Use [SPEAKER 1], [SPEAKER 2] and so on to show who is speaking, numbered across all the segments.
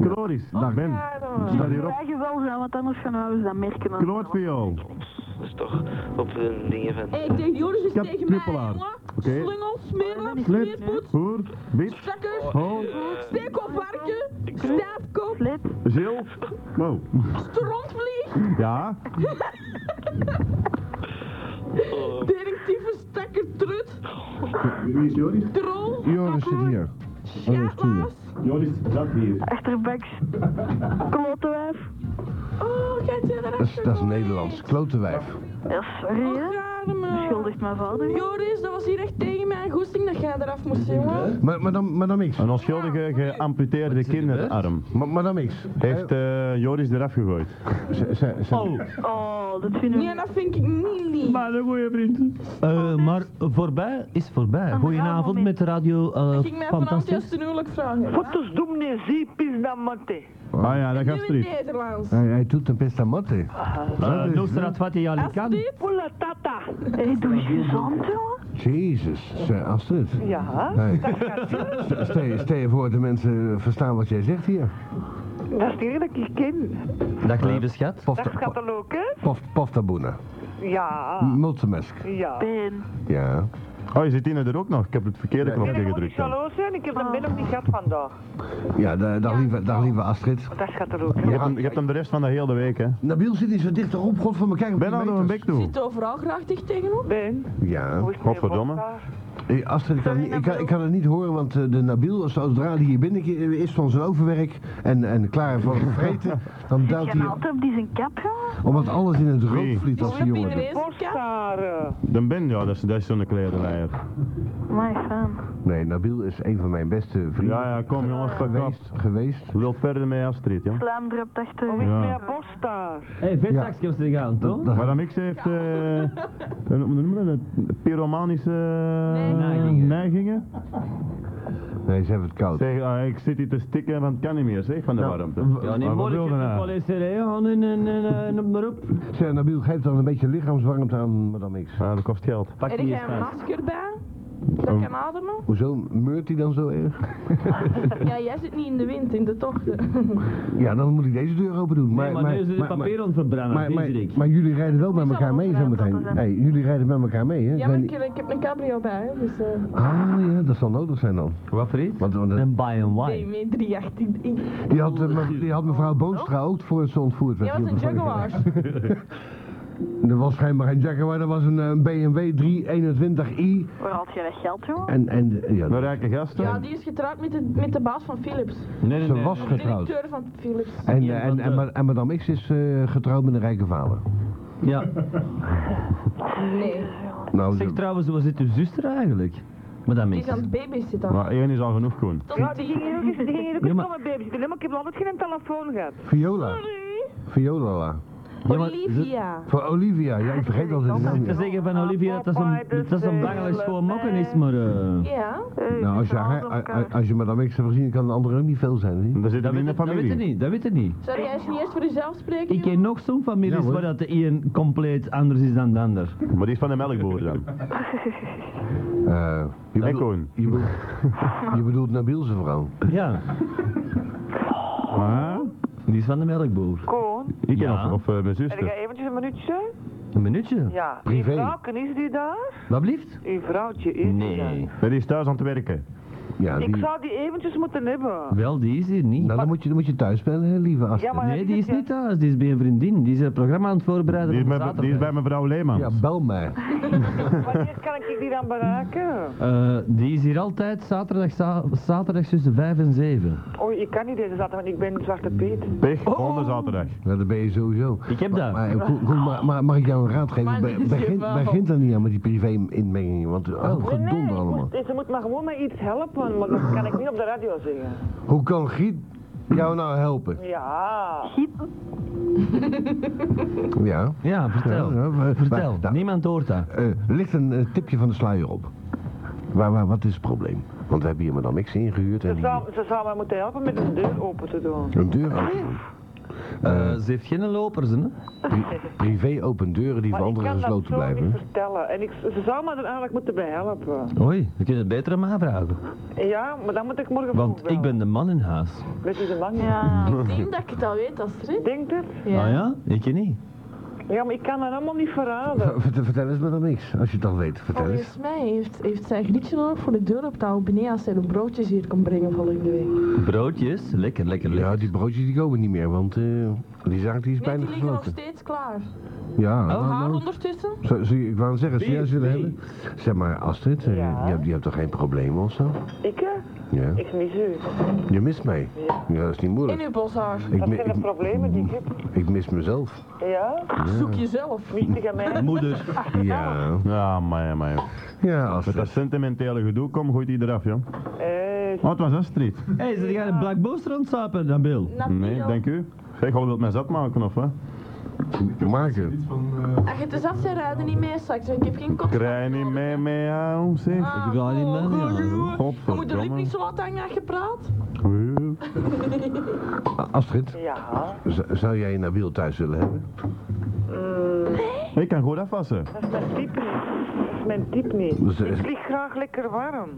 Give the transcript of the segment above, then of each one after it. [SPEAKER 1] Kloris, dag Ben. Sta
[SPEAKER 2] Ik
[SPEAKER 1] hierop.
[SPEAKER 2] krijg wel zo, want anders gaan we dat merken.
[SPEAKER 1] Kloot voor jou.
[SPEAKER 3] Dat is toch op de dingen van...
[SPEAKER 4] Hey, tegen Joris is
[SPEAKER 1] Kat
[SPEAKER 4] tegen mij,
[SPEAKER 1] Knuppelaar.
[SPEAKER 4] jongen.
[SPEAKER 1] Oké.
[SPEAKER 4] Slungel,
[SPEAKER 1] Slit,
[SPEAKER 4] smeren, smeerpoet,
[SPEAKER 1] hoer, biet,
[SPEAKER 4] stekker,
[SPEAKER 1] ho,
[SPEAKER 4] stekelvarken, stijfkoop,
[SPEAKER 2] Let,
[SPEAKER 1] zil. Oh,
[SPEAKER 4] strontvlieg,
[SPEAKER 1] ja.
[SPEAKER 4] directieve stekker, trut,
[SPEAKER 1] Wie is Joris?
[SPEAKER 4] drol,
[SPEAKER 5] Joris zit hier. Oh,
[SPEAKER 4] schaatlaas.
[SPEAKER 1] Joris, dat hier.
[SPEAKER 2] achterbaks, klottenwijf.
[SPEAKER 4] Oh, gaat jij
[SPEAKER 5] Dat is,
[SPEAKER 4] erachter?
[SPEAKER 5] dat is Nederlands. Klotenwijf.
[SPEAKER 2] Ja, sorry hè.
[SPEAKER 4] Schuldig.
[SPEAKER 2] Schuldigt mijn vader.
[SPEAKER 4] Oh, Joris, dat was hier echt tegen mijn goesting dat jij eraf moest, jongen.
[SPEAKER 5] Maar, maar, dan, maar dan niks.
[SPEAKER 1] Een onschuldige geamputeerde kinderarm
[SPEAKER 5] Maar, maar dan niks.
[SPEAKER 1] heeft eh, Joris eraf gegooid.
[SPEAKER 5] Ze- ze- ze-
[SPEAKER 2] Oh, dat vinden
[SPEAKER 4] Nee,
[SPEAKER 2] we...
[SPEAKER 4] dat vind ik niet lief.
[SPEAKER 1] Maar een goeie vriend.
[SPEAKER 6] Eh, maar voorbij is voorbij.
[SPEAKER 2] Aan
[SPEAKER 6] Goedenavond
[SPEAKER 2] moment.
[SPEAKER 6] met de radio. eh,
[SPEAKER 4] Ik ging mij vanavond
[SPEAKER 6] fantastisch.
[SPEAKER 4] juist een huwelijk vragen.
[SPEAKER 7] Fotos doen nee, zie, pis dan matte.
[SPEAKER 1] Ah ja, dat
[SPEAKER 4] Nu
[SPEAKER 1] gaat Ah,
[SPEAKER 4] in het
[SPEAKER 1] streep.
[SPEAKER 4] Nederlands.
[SPEAKER 5] Hij, hij doet een pestamotte.
[SPEAKER 6] Eh, Nostra Twati Alican.
[SPEAKER 4] Astrid,
[SPEAKER 7] Ola tata.
[SPEAKER 2] Hey, doe je je zand, jongen?
[SPEAKER 5] Jezus, zei Astrid.
[SPEAKER 7] Ja,
[SPEAKER 5] Hey. Stel- Stel je- stel je voor dat mensen verstaan wat jij zegt hier.
[SPEAKER 7] dat is de enige die ik ken.
[SPEAKER 6] Dag lieve schat.
[SPEAKER 5] Pof,
[SPEAKER 7] Dat gaat al ook, hè?
[SPEAKER 5] pof, poftaboene.
[SPEAKER 7] Ja,
[SPEAKER 5] Hm. Multimesk.
[SPEAKER 7] ja.
[SPEAKER 2] Ben.
[SPEAKER 5] Ja.
[SPEAKER 1] Oh, je zit in er ook nog. Ik heb het verkeerde
[SPEAKER 7] Ik
[SPEAKER 1] knopje
[SPEAKER 7] moet niet
[SPEAKER 1] gedrukt. dan.
[SPEAKER 7] jaloers zijn, ik heb de min nog niet gehad vandaag.
[SPEAKER 5] Ja, da- dag lieve, dag lieve Astrid.
[SPEAKER 7] Dat gaat al ook.
[SPEAKER 1] Je hebt, hem, je hebt hem de rest van de hele week, hè.
[SPEAKER 5] Nabil zit niet zo dicht op, god van elkaar.
[SPEAKER 1] Ben aan een bek toe.
[SPEAKER 4] zit overal graag dicht tegen ons.
[SPEAKER 7] Ben,
[SPEAKER 5] Ja.
[SPEAKER 7] hoe is het
[SPEAKER 1] Godverdomme.
[SPEAKER 7] met je vodka?
[SPEAKER 5] Hey, Astrid, ik kan, niet- ik, kan, ik kan het niet horen, want eh, de Nabil, als- zodra die hier binnen ke- is van zijn overwerk en, en klaar voor het vreten, dan duikt
[SPEAKER 2] Jij
[SPEAKER 5] hij,
[SPEAKER 2] altijd op die zijn kap, jongen?
[SPEAKER 5] omdat alles in het
[SPEAKER 1] Wie?
[SPEAKER 5] rood vliegt als
[SPEAKER 4] Ik
[SPEAKER 5] die
[SPEAKER 4] heb
[SPEAKER 5] jongen.
[SPEAKER 4] ineens een kat.
[SPEAKER 7] Postaren.
[SPEAKER 1] Dan Ben, ja, dat is, dat is zo'n klerenleier.
[SPEAKER 2] My fan.
[SPEAKER 5] Nee, Nabil is een van mijn beste vrienden
[SPEAKER 1] Ja, ja, kom jongens, pak af.
[SPEAKER 5] geweest. geweest.
[SPEAKER 1] Lult verder mee Astrid, ja.
[SPEAKER 2] Vlaamdrup
[SPEAKER 5] Oh,
[SPEAKER 7] Hoe
[SPEAKER 2] achter.
[SPEAKER 7] is het
[SPEAKER 1] Ja.
[SPEAKER 7] met je postaar?
[SPEAKER 6] Hé, hey, vetzaksjes te gaan, toch?
[SPEAKER 5] Dat-
[SPEAKER 1] Madame X heeft, eh, een- hoe noemen we dat? Een pyromanische eh,
[SPEAKER 6] Neigingen.
[SPEAKER 1] neigingen.
[SPEAKER 5] Nee, ze hebben het koud.
[SPEAKER 1] Zeg, ah, ik zit hier te stikken, want het kan niet meer, zeg, van de
[SPEAKER 5] Nou,
[SPEAKER 1] warmte.
[SPEAKER 6] Ja, niet moeilijk. Ik heb wel eens serieus aan en en- en- en op de roep.
[SPEAKER 5] Zeg, Nabil, geef dan een beetje lichaamswarmte aan madame X.
[SPEAKER 1] Ah, dat kost geld.
[SPEAKER 6] Pak
[SPEAKER 4] Er
[SPEAKER 6] die
[SPEAKER 4] is
[SPEAKER 6] eens
[SPEAKER 4] een
[SPEAKER 6] vast.
[SPEAKER 4] masker bij. Dat kan ademen.
[SPEAKER 5] Hoezo meurt hij dan zo erg?
[SPEAKER 4] Ja, jij zit niet in de wind, in de tochten.
[SPEAKER 5] Ja, dan moet ik deze deur open doen.
[SPEAKER 6] Nee, maar nu is het papier aan het
[SPEAKER 5] maar,
[SPEAKER 6] verbranden,
[SPEAKER 5] maar,
[SPEAKER 6] Diederik.
[SPEAKER 5] maar jullie rijden wel met
[SPEAKER 2] Moet je
[SPEAKER 5] elkaar
[SPEAKER 2] allemaal
[SPEAKER 5] mee
[SPEAKER 2] praten,
[SPEAKER 5] zometeen.
[SPEAKER 2] dat is-
[SPEAKER 5] Hey, jullie rijden met elkaar mee, hè?
[SPEAKER 4] Ja, maar
[SPEAKER 5] Zijn
[SPEAKER 4] ik, ik heb een cabrio bij, hè, dus... eh
[SPEAKER 5] die- Ah, ja, dat zal nodig zijn dan.
[SPEAKER 6] Wat voor iets?
[SPEAKER 5] Want, want dat-
[SPEAKER 6] Een buy and
[SPEAKER 4] Nee,
[SPEAKER 6] why.
[SPEAKER 4] mee 318.
[SPEAKER 5] die, had, eh, me- die had mevrouw Boonstra ook voor ze ontvoerd werd.
[SPEAKER 4] Jij was een
[SPEAKER 5] hier op de vorige
[SPEAKER 4] Jaguar.
[SPEAKER 5] keer. Er was schijnbaar geen Jaguar, er was een eh, BMW 321i.
[SPEAKER 2] Waar haalt jij dat geld, jongen?
[SPEAKER 5] En, en eh, ja,
[SPEAKER 1] De
[SPEAKER 6] eh,
[SPEAKER 1] rijke gasten.
[SPEAKER 4] Ja, die is getrouwd met de, met de baas van Philips.
[SPEAKER 6] Nee, nee,
[SPEAKER 5] ze
[SPEAKER 6] nee.
[SPEAKER 5] was
[SPEAKER 4] De
[SPEAKER 5] getrouwd.
[SPEAKER 4] directeur van Philips.
[SPEAKER 5] En,
[SPEAKER 6] Ja,
[SPEAKER 5] eh, en,
[SPEAKER 6] want,
[SPEAKER 5] en,
[SPEAKER 6] eh,
[SPEAKER 5] ma- en madame X is eh, getrouwd met een rijke vader.
[SPEAKER 6] Ja.
[SPEAKER 4] Nee,
[SPEAKER 5] Nou,
[SPEAKER 6] Zeg
[SPEAKER 5] de-
[SPEAKER 6] trouwens, waar zit uw zuster eigenlijk? Madame
[SPEAKER 4] die
[SPEAKER 6] X.
[SPEAKER 4] is aan het babysitten.
[SPEAKER 1] Maar één is al genoeg, Koen.
[SPEAKER 4] Tot
[SPEAKER 7] Ja,
[SPEAKER 4] ja,
[SPEAKER 7] die gingen ook eens, die gingen ook
[SPEAKER 6] Ja,
[SPEAKER 7] eens
[SPEAKER 6] maar-
[SPEAKER 7] komen babyzitten, hè, maar ik heb nog altijd geen telefoon gehad.
[SPEAKER 5] Viola. Viola.
[SPEAKER 6] Ja, maar-
[SPEAKER 4] Olivia.
[SPEAKER 5] Voor Olivia, ja, ik vergeet altijd de naam.
[SPEAKER 6] Ik kan zeggen
[SPEAKER 4] Ah,
[SPEAKER 6] van Olivia dat dat zo'n- dat dat zo'n dagelijks gewoon mokken is, maar... eh,
[SPEAKER 4] Ja,
[SPEAKER 7] Hmm,
[SPEAKER 5] Nou, als je, haar,
[SPEAKER 2] eh,
[SPEAKER 5] a- a-
[SPEAKER 7] eh.
[SPEAKER 5] als je madame X hebt gezien, kan de andere ook niet veel zijn. Hè?
[SPEAKER 1] Er zit hem
[SPEAKER 6] Dat weet,
[SPEAKER 1] in de
[SPEAKER 6] dat weet ik
[SPEAKER 1] familie.
[SPEAKER 6] niet, dat weet ik niet.
[SPEAKER 4] zou jij eens niet eerst voor jezelf spreken?
[SPEAKER 6] Ik
[SPEAKER 4] jongen?
[SPEAKER 6] ken nog zo'n families
[SPEAKER 5] Ja, hoor.
[SPEAKER 6] waar dat de een compleet anders is dan de ander.
[SPEAKER 1] Maar die is van de melkboer dan.
[SPEAKER 5] Eh, je,
[SPEAKER 1] En
[SPEAKER 5] bedoelt-
[SPEAKER 1] Koen.
[SPEAKER 5] je, bedoelt, je bedoelt Nabil zijn vrouw.
[SPEAKER 6] Ja,
[SPEAKER 1] Ah,
[SPEAKER 6] die is van de melkboer.
[SPEAKER 7] Koon,
[SPEAKER 1] ik
[SPEAKER 6] Ja.
[SPEAKER 1] of, of eh, mijn
[SPEAKER 7] heb jij
[SPEAKER 1] zuster.
[SPEAKER 7] eventjes een minuutje?
[SPEAKER 6] Een minuutje?
[SPEAKER 7] Ja.
[SPEAKER 5] Privé.
[SPEAKER 7] Uw vrouwken is die daar?
[SPEAKER 6] Wat blieft?
[SPEAKER 7] Uw vrouwtje is die
[SPEAKER 6] Nee.
[SPEAKER 7] daar.
[SPEAKER 1] Nee, die is thuis aan het werken.
[SPEAKER 5] Ja,
[SPEAKER 7] Ik
[SPEAKER 5] die, nou,
[SPEAKER 7] zou die eventjes moeten hebben.
[SPEAKER 6] Wel, die is hier niet.
[SPEAKER 5] dan, moet je, dan moet je thuis bellen, hè, lieve
[SPEAKER 7] Ja,
[SPEAKER 5] Astrid.
[SPEAKER 7] maar-
[SPEAKER 6] Nee, die is niet thuis. Die is bij een vriendin. Die is een programma aan het voorbereiden
[SPEAKER 1] Die is,
[SPEAKER 6] voor
[SPEAKER 1] bij, die is bij
[SPEAKER 6] zaterdag.
[SPEAKER 1] mevrouw Leemans.
[SPEAKER 5] Ja, bel mij.
[SPEAKER 7] Wanneer kan ik die dan bereiken?
[SPEAKER 6] Eh, die is hier altijd zaterdag, za- zaterdag tussen 5 en 7.
[SPEAKER 7] Oh, ik kan niet deze zaterdag, want ik ben Zwarte Piet.
[SPEAKER 1] Pech, volgende zaterdag.
[SPEAKER 5] Ja, dat ben je sowieso.
[SPEAKER 6] Ik heb dat.
[SPEAKER 5] Maar, maar, Koen, Koen, maar, maar mag ik jou een raad geven?
[SPEAKER 4] Maar
[SPEAKER 5] Be-
[SPEAKER 4] dit is je
[SPEAKER 5] begin,
[SPEAKER 4] vrouw.
[SPEAKER 5] begin dan niet aan met die privé-inmengingen, want oh,
[SPEAKER 7] nee,
[SPEAKER 5] gedonder
[SPEAKER 7] ik
[SPEAKER 5] allemaal.
[SPEAKER 7] moest- ze moet me gewoon met iets helpen, want dat kan ik niet op de radio zeggen.
[SPEAKER 5] Hoe kan Giet jou nou helpen?
[SPEAKER 7] Ja.
[SPEAKER 5] Ja.
[SPEAKER 6] Ja, vertel.
[SPEAKER 5] Ja, ja, we-
[SPEAKER 6] vertel.
[SPEAKER 5] maar- nou,
[SPEAKER 6] Niemand hoort dat.
[SPEAKER 5] eh, ligt een eh, tipje van de sluier op. Waar, waar, wat is het probleem? Want we hebben hier madame X ingehuurd en
[SPEAKER 7] Ze
[SPEAKER 5] die
[SPEAKER 7] zou, ze zou mij moeten helpen met de deur open te doen.
[SPEAKER 5] een deur open doen.
[SPEAKER 6] Eh, ze heeft geen lopers, hè?
[SPEAKER 5] Pri- privé open deuren die voor
[SPEAKER 7] Maar ik
[SPEAKER 5] anderen
[SPEAKER 7] kan dat
[SPEAKER 5] gesloten
[SPEAKER 7] zo niet
[SPEAKER 5] blijven.
[SPEAKER 7] vertellen. En ik, ze zou me er eigenlijk moeten bij helpen.
[SPEAKER 6] Oei, we kunnen het beter aan mij vragen.
[SPEAKER 7] Ja, maar dan moet ik morgen vroeg
[SPEAKER 6] Want ik
[SPEAKER 7] bellen.
[SPEAKER 6] ben de man in huis.
[SPEAKER 7] Weet je de man niet?
[SPEAKER 2] Ja.
[SPEAKER 4] Ik denk dat ik het al weet, Astrid.
[SPEAKER 7] Denkt het?
[SPEAKER 6] Ah ja? Ik niet.
[SPEAKER 7] Ja, maar ik kan dat allemaal niet verraden.
[SPEAKER 5] Vertel, vertel eens maar dan niks, als je het dan weet.
[SPEAKER 7] Oh,
[SPEAKER 5] Vertel eens.
[SPEAKER 4] Volgens mij heeft, heeft zij grietje nodig voor de deur op de beneden als zij de broodjes hier komt brengen volgende week.
[SPEAKER 6] Broodjes, lekker, lekker, lekker.
[SPEAKER 5] Ja, die broodjes die komen niet meer, want eh, die zaak die is
[SPEAKER 4] Nee,
[SPEAKER 5] bijna
[SPEAKER 4] die liggen nog
[SPEAKER 5] gesloten.
[SPEAKER 4] steeds klaar.
[SPEAKER 5] Ja,
[SPEAKER 4] Oh,
[SPEAKER 5] nou,
[SPEAKER 4] haar
[SPEAKER 5] nou,
[SPEAKER 4] ondertussen?
[SPEAKER 5] zo, zie je, ik wou zeggen, zou jij ze willen hebben? Zeg maar, Astrid, eh,
[SPEAKER 7] Ja?
[SPEAKER 5] je, hebt, je hebt toch geen problemen of zo?
[SPEAKER 7] Ik hè?
[SPEAKER 5] Ja.
[SPEAKER 7] Ik mis u.
[SPEAKER 5] Je mist mij. Ja, dat is niet
[SPEAKER 4] In
[SPEAKER 5] moeilijk.
[SPEAKER 4] uw boshaar.
[SPEAKER 5] Ik,
[SPEAKER 7] Dat
[SPEAKER 5] mi-
[SPEAKER 7] zijn de
[SPEAKER 5] ik,
[SPEAKER 7] problemen die ik heb.
[SPEAKER 5] ik mis mezelf.
[SPEAKER 7] Ja?
[SPEAKER 4] Zoek jezelf.
[SPEAKER 7] Mist ik aan mij?
[SPEAKER 6] Moeder.
[SPEAKER 5] Ja.
[SPEAKER 1] Ja, maar maar
[SPEAKER 5] Ja,
[SPEAKER 1] Met dat
[SPEAKER 5] Astrid.
[SPEAKER 1] sentimentele gedoe, kom, gooit die eraf, joh.
[SPEAKER 7] Eh,
[SPEAKER 1] Oh, het was Astrid.
[SPEAKER 6] Hé, hey, ze gaan een Black Booster rondzappen dan, Bill.
[SPEAKER 1] Nee, denk u. Zeg, al wilt mij zat maken, of wat?
[SPEAKER 5] Maken.
[SPEAKER 4] Als je te zat zijn, rijden niet mee straks. want Ik heb geen kop.
[SPEAKER 1] Krij niet mee mee aan, zeg.
[SPEAKER 4] Ah,
[SPEAKER 6] Ik ga
[SPEAKER 7] Oh,
[SPEAKER 6] niet mee,
[SPEAKER 4] goh,
[SPEAKER 6] ja.
[SPEAKER 4] goh, goh. Je moet de lip
[SPEAKER 1] Godverdomme.
[SPEAKER 4] niet zo hard hangen als je praat.
[SPEAKER 5] A- Astrid,
[SPEAKER 7] ja,
[SPEAKER 5] z- zou jij Nabil thuis willen hebben?
[SPEAKER 1] Ik kan goed afwassen.
[SPEAKER 7] dat is mijn type niet. Dat is mijn type niet.
[SPEAKER 5] Dus, eh,
[SPEAKER 7] Ik lig graag lekker warm.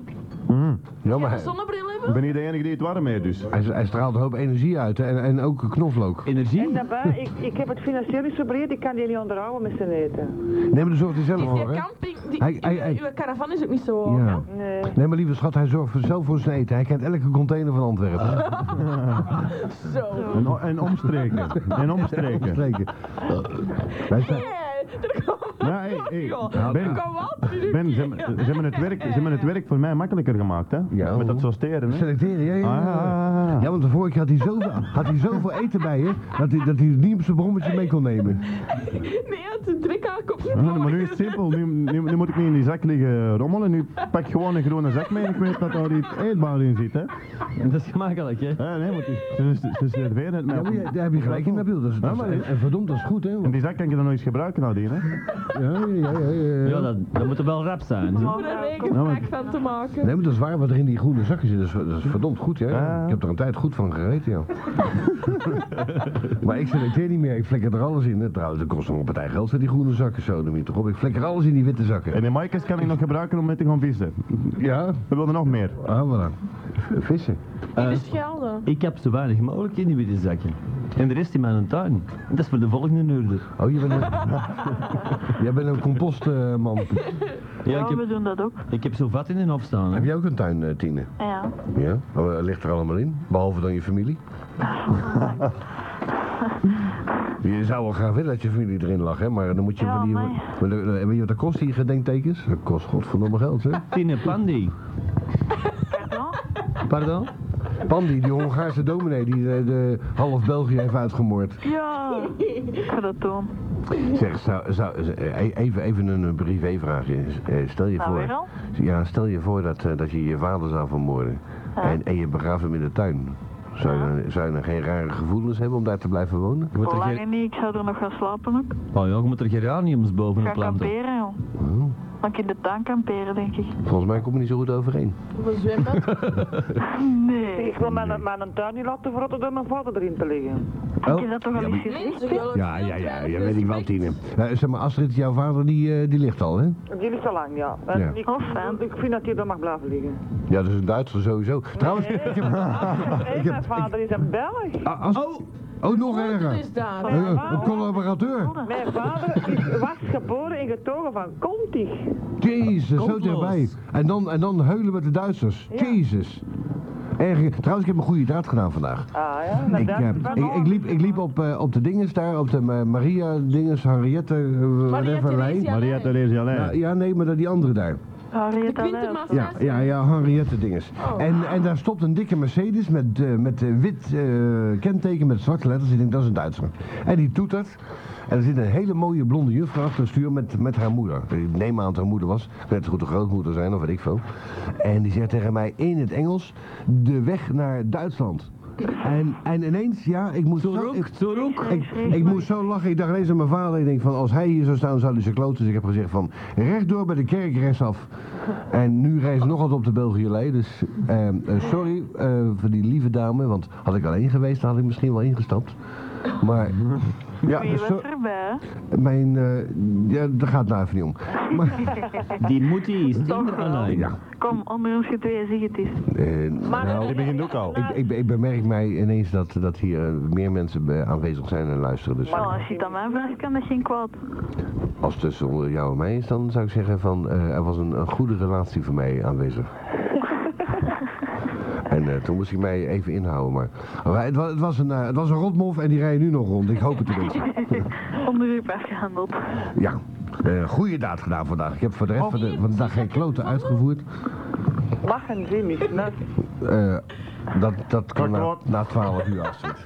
[SPEAKER 5] Ja, maar
[SPEAKER 4] Een
[SPEAKER 5] hij,
[SPEAKER 4] zonnebril
[SPEAKER 1] Ik
[SPEAKER 4] hebben?
[SPEAKER 1] ben niet de enige die het warm heeft, dus.
[SPEAKER 5] hij, hij straalt een hoop energie uit hè, en, en ook knoflook.
[SPEAKER 7] En
[SPEAKER 6] Energie?
[SPEAKER 7] daarbij, ik, ik heb het financieel niet zo breed, ik kan die niet onderhouden met z'n eten.
[SPEAKER 5] Neem er zorgt hij zelf
[SPEAKER 4] Die is
[SPEAKER 5] voor,
[SPEAKER 4] die
[SPEAKER 5] hè?
[SPEAKER 4] camping, die,
[SPEAKER 5] Hij- hij- hij-
[SPEAKER 4] uw, uw caravan is ook niet zo hoog. hè?
[SPEAKER 5] Ja.
[SPEAKER 7] Nee.
[SPEAKER 5] Nee, maar lieve schat, hij zorgt voor- zelf voor zijn eten. Hij kent elke container van Antwerpen.
[SPEAKER 4] Zo.
[SPEAKER 1] En, o- en omstreken. En omstreken.
[SPEAKER 5] Spreken. Wij zijn-
[SPEAKER 4] Hey, er komt
[SPEAKER 1] Ja, hé, hé.
[SPEAKER 4] joh. Er
[SPEAKER 1] Ben,
[SPEAKER 4] komt wat. in uw
[SPEAKER 1] ben ze,
[SPEAKER 4] keel.
[SPEAKER 1] hebben- ze, hebben het werk, ze hebben het werk voor mij makkelijker gemaakt, hè?
[SPEAKER 5] Ja,
[SPEAKER 1] Met dat
[SPEAKER 5] hoe?
[SPEAKER 1] sorteren, hè?
[SPEAKER 5] Selecteren, ja, ja, ja.
[SPEAKER 1] Ah.
[SPEAKER 5] Ja, want de vorige keer had hij zoveel, had hij zoveel eten bij je, dat hij, dat hij het niet op zijn brommetje mee kon nemen.
[SPEAKER 4] Nee, het is een druk aan kop.
[SPEAKER 1] Ja, maar nu is het simpel, nu, nu, nu moet ik niet in die zak liggen rommelen, nu pak ik gewoon een groene zak mee en ik weet dat daar iets eetbaar in zit, hè?
[SPEAKER 6] Dat is gemakkelijk, hè?
[SPEAKER 1] Ja, nee, want die- ze, ze, ze serveren het mij.
[SPEAKER 5] Ja,
[SPEAKER 1] op
[SPEAKER 5] maar
[SPEAKER 1] een-
[SPEAKER 5] ja, daar heb je gelijk in, Nabil. Dat is, dat is-
[SPEAKER 1] Ja, maar-
[SPEAKER 5] en, en verdomd, dat is goed, hè?
[SPEAKER 1] En
[SPEAKER 5] want-
[SPEAKER 1] die zak kan je dan nog eens gebruiken nadien, hè?
[SPEAKER 5] ja, ja, ja, ja,
[SPEAKER 6] Ja,
[SPEAKER 5] ja.
[SPEAKER 6] dat, dat moet er wel rap zijn. zo.
[SPEAKER 4] Om er een
[SPEAKER 1] Nou, maar-
[SPEAKER 4] regenpack van te maken.
[SPEAKER 5] Nee, maar dat is waar wat er in die groene zakjes zit. Dat is, dat is verdomd goed, hè?
[SPEAKER 1] Ja.
[SPEAKER 5] Ik heb er een tijd goed van gereten, ja. maar ik selecteer niet meer. Ik flikker er alles in. hè. Trouwens, dat kost nog een partij geld, hè, die groene zakken. Zo, noem je het toch op. Ik flikker alles in die witte zakken.
[SPEAKER 1] En die maaikers kan ik nog gebruiken om mee te gaan vissen.
[SPEAKER 5] Ja,
[SPEAKER 1] We wilden nog meer.
[SPEAKER 5] ah, voilà. Vissen.
[SPEAKER 4] In de Schelde.
[SPEAKER 6] Ik heb zo weinig mogelijk in die witte zakken. En de rest in mijn tuin. Dat is voor de volgende huurder.
[SPEAKER 5] Oh, je bent een, jij bent een compostman.
[SPEAKER 6] Ja,
[SPEAKER 2] Ja,
[SPEAKER 6] ik
[SPEAKER 2] we
[SPEAKER 6] heb,
[SPEAKER 2] doen dat ook.
[SPEAKER 6] ik heb zo vat in de hof staan.
[SPEAKER 5] heb
[SPEAKER 6] Hè.
[SPEAKER 5] jij ook een tuin, eh, Tine?
[SPEAKER 2] Ja.
[SPEAKER 5] Ja. Oh, eh, ligt er allemaal in, behalve dan je familie. Je zou wel graag willen dat je familie erin lag, hè? maar dan moet je
[SPEAKER 2] Ja,
[SPEAKER 5] van die...
[SPEAKER 2] amai.
[SPEAKER 5] Maar de- de- Weet je wat dat kost, die gedenktekens? Dat kost godverdomme geld, hè?
[SPEAKER 6] Tine Pandy.
[SPEAKER 2] Pardon?
[SPEAKER 6] Pardon?
[SPEAKER 5] Pandi, die Hongaarse dominee die de, de half België heeft uitgemoord.
[SPEAKER 2] Ja. Ik ga dat doen.
[SPEAKER 5] Zeg, zou, zou, eh, even, even een eh, privévraagje. Eh, Stel je
[SPEAKER 2] Nou, weer
[SPEAKER 5] voor...
[SPEAKER 2] al?
[SPEAKER 5] Ja, stel je voor dat, eh, dat je je vader zou vermoorden.
[SPEAKER 2] Ja.
[SPEAKER 5] En, en je begraaft hem in de tuin. Zou je, dan- zou je dan geen rare gevoelens hebben om daar te blijven wonen?
[SPEAKER 6] Je moet er
[SPEAKER 2] Lang
[SPEAKER 6] geen,
[SPEAKER 2] niet. Ik zou er nog gaan slapen ook.
[SPEAKER 6] oh ja, je moet er geraniums bovenop
[SPEAKER 2] Gaan
[SPEAKER 6] planten.
[SPEAKER 2] kamperen, joh.
[SPEAKER 5] Oh.
[SPEAKER 2] Dan kan ik in de tuin kamperen, denk ik.
[SPEAKER 5] Volgens mij kom je niet zo goed overeen.
[SPEAKER 4] Op een zwembad.
[SPEAKER 2] Nee.
[SPEAKER 7] Ik wil mijn, mijn tuin niet laten verrotten door mijn vader erin te liggen.
[SPEAKER 2] Heb je dat toch al eens gezien?
[SPEAKER 4] Mensen willen
[SPEAKER 5] Ja,
[SPEAKER 4] heel
[SPEAKER 5] ja, ja,
[SPEAKER 4] weinig
[SPEAKER 5] ja, weet ik wel,
[SPEAKER 4] respect.
[SPEAKER 5] Tine. Eh, zeg maar, Astrid, jouw vader, die, eh, die ligt al, hè?
[SPEAKER 7] Die is te lang, ja. En
[SPEAKER 5] Ja.
[SPEAKER 7] Ik,
[SPEAKER 2] Oh, fijn.
[SPEAKER 7] ik vind dat hij er mag blijven liggen.
[SPEAKER 5] Ja, dat is een Duitser sowieso. Trouwens, Ah, ik heb-
[SPEAKER 7] Hé, mijn vader is een Belg.
[SPEAKER 5] Ah, Ast-
[SPEAKER 6] Oh.
[SPEAKER 5] oh, nog
[SPEAKER 4] Wat
[SPEAKER 5] erger.
[SPEAKER 4] is daar?
[SPEAKER 5] Eh, een collaborateur.
[SPEAKER 7] Mijn vader is, was geboren en getogen van Contig.
[SPEAKER 5] Jezus, zo
[SPEAKER 6] Complot.
[SPEAKER 5] dichtbij. En dan, en dan heulen met de Duitsers. Jezus. Erg. Trouwens, ik heb een goede daad gedaan vandaag.
[SPEAKER 7] Ah ja, naar
[SPEAKER 5] Ik, eh,
[SPEAKER 7] Duitsers van
[SPEAKER 5] ik, ik, liep, ik liep op, eh, op de dinges daar, op de Ma- Maria dinges, Henriette, eh, whatever lijn.
[SPEAKER 4] Theresia.
[SPEAKER 1] Maria Therese
[SPEAKER 5] Ja,
[SPEAKER 1] Jalijn.
[SPEAKER 5] ja, nee, maar dat die andere daar.
[SPEAKER 4] De
[SPEAKER 2] Henrietta Leijs.
[SPEAKER 4] Quintenmassage.
[SPEAKER 5] Ja, ja, ja Henriette dinges. En, en daar stopt een dikke Mercedes met, eh, met eh, wit eh, kenteken met zwarte letters. Ik denk, dat is een Duitser. En die toetert. En er zit een hele mooie blonde juffrouw achter het stuur met, met haar moeder. Ik neem aan dat haar moeder was. Ik weet het goed, de grootmoeder zijn of weet ik veel. En die zegt tegen mij in het Engels, de weg naar Duitsland. En, en ineens, ja, ik moest zo...
[SPEAKER 6] Zorok,
[SPEAKER 5] ik-
[SPEAKER 6] zorok.
[SPEAKER 5] Ik, ik moest zo lachen, ik dacht ineens aan mijn vader. Ik denk van, als hij hier zou staan, zou hij zijn kloten. Dus ik heb gezegd van, rechtdoor bij de kerk, rechtsaf. En nu rijst nog wat op de België dus ehm, eh, sorry eh, voor die lieve dame. Want had ik alleen geweest, dan had ik misschien wel ingestapt. Maar, ja, dus
[SPEAKER 2] Maar je
[SPEAKER 5] zo-
[SPEAKER 2] was erbij, hè?
[SPEAKER 5] mijn, eh, ja, daar gaat het nou even niet om. Maar,
[SPEAKER 6] Die moet die is Tinder alleen.
[SPEAKER 5] ja,
[SPEAKER 2] Kom, onder ons getweeën, zeg het eens.
[SPEAKER 5] eh, nou,
[SPEAKER 7] die
[SPEAKER 8] begint ook al.
[SPEAKER 5] ik, ik, ik bemerk mij ineens dat, dat hier eh, meer mensen bij- aanwezig zijn en luisteren. Dus
[SPEAKER 2] Nou, als je het aan mij vraagt, kan dat geen kwaad.
[SPEAKER 5] als het tussen onder jou en mij is, dan zou ik zeggen van, eh, er was een, een goede relatie voor mij aanwezig. En eh, toen moest ik mij even inhouden, maar maar het, was, het, was een, eh, het was een rotmof en die rijden nu nog rond. Ik hoop het tenminste.
[SPEAKER 2] Onder uw pers gehandeld.
[SPEAKER 5] Ja, eh goede daad gedaan vandaag. Ik heb voor de rest van, de, van de dag geen kloten uitgevoerd.
[SPEAKER 7] Lachen ze niet. Nou,
[SPEAKER 5] Eh, dat, dat kan na,
[SPEAKER 1] Klakklak.
[SPEAKER 5] na 12 uur Astrid.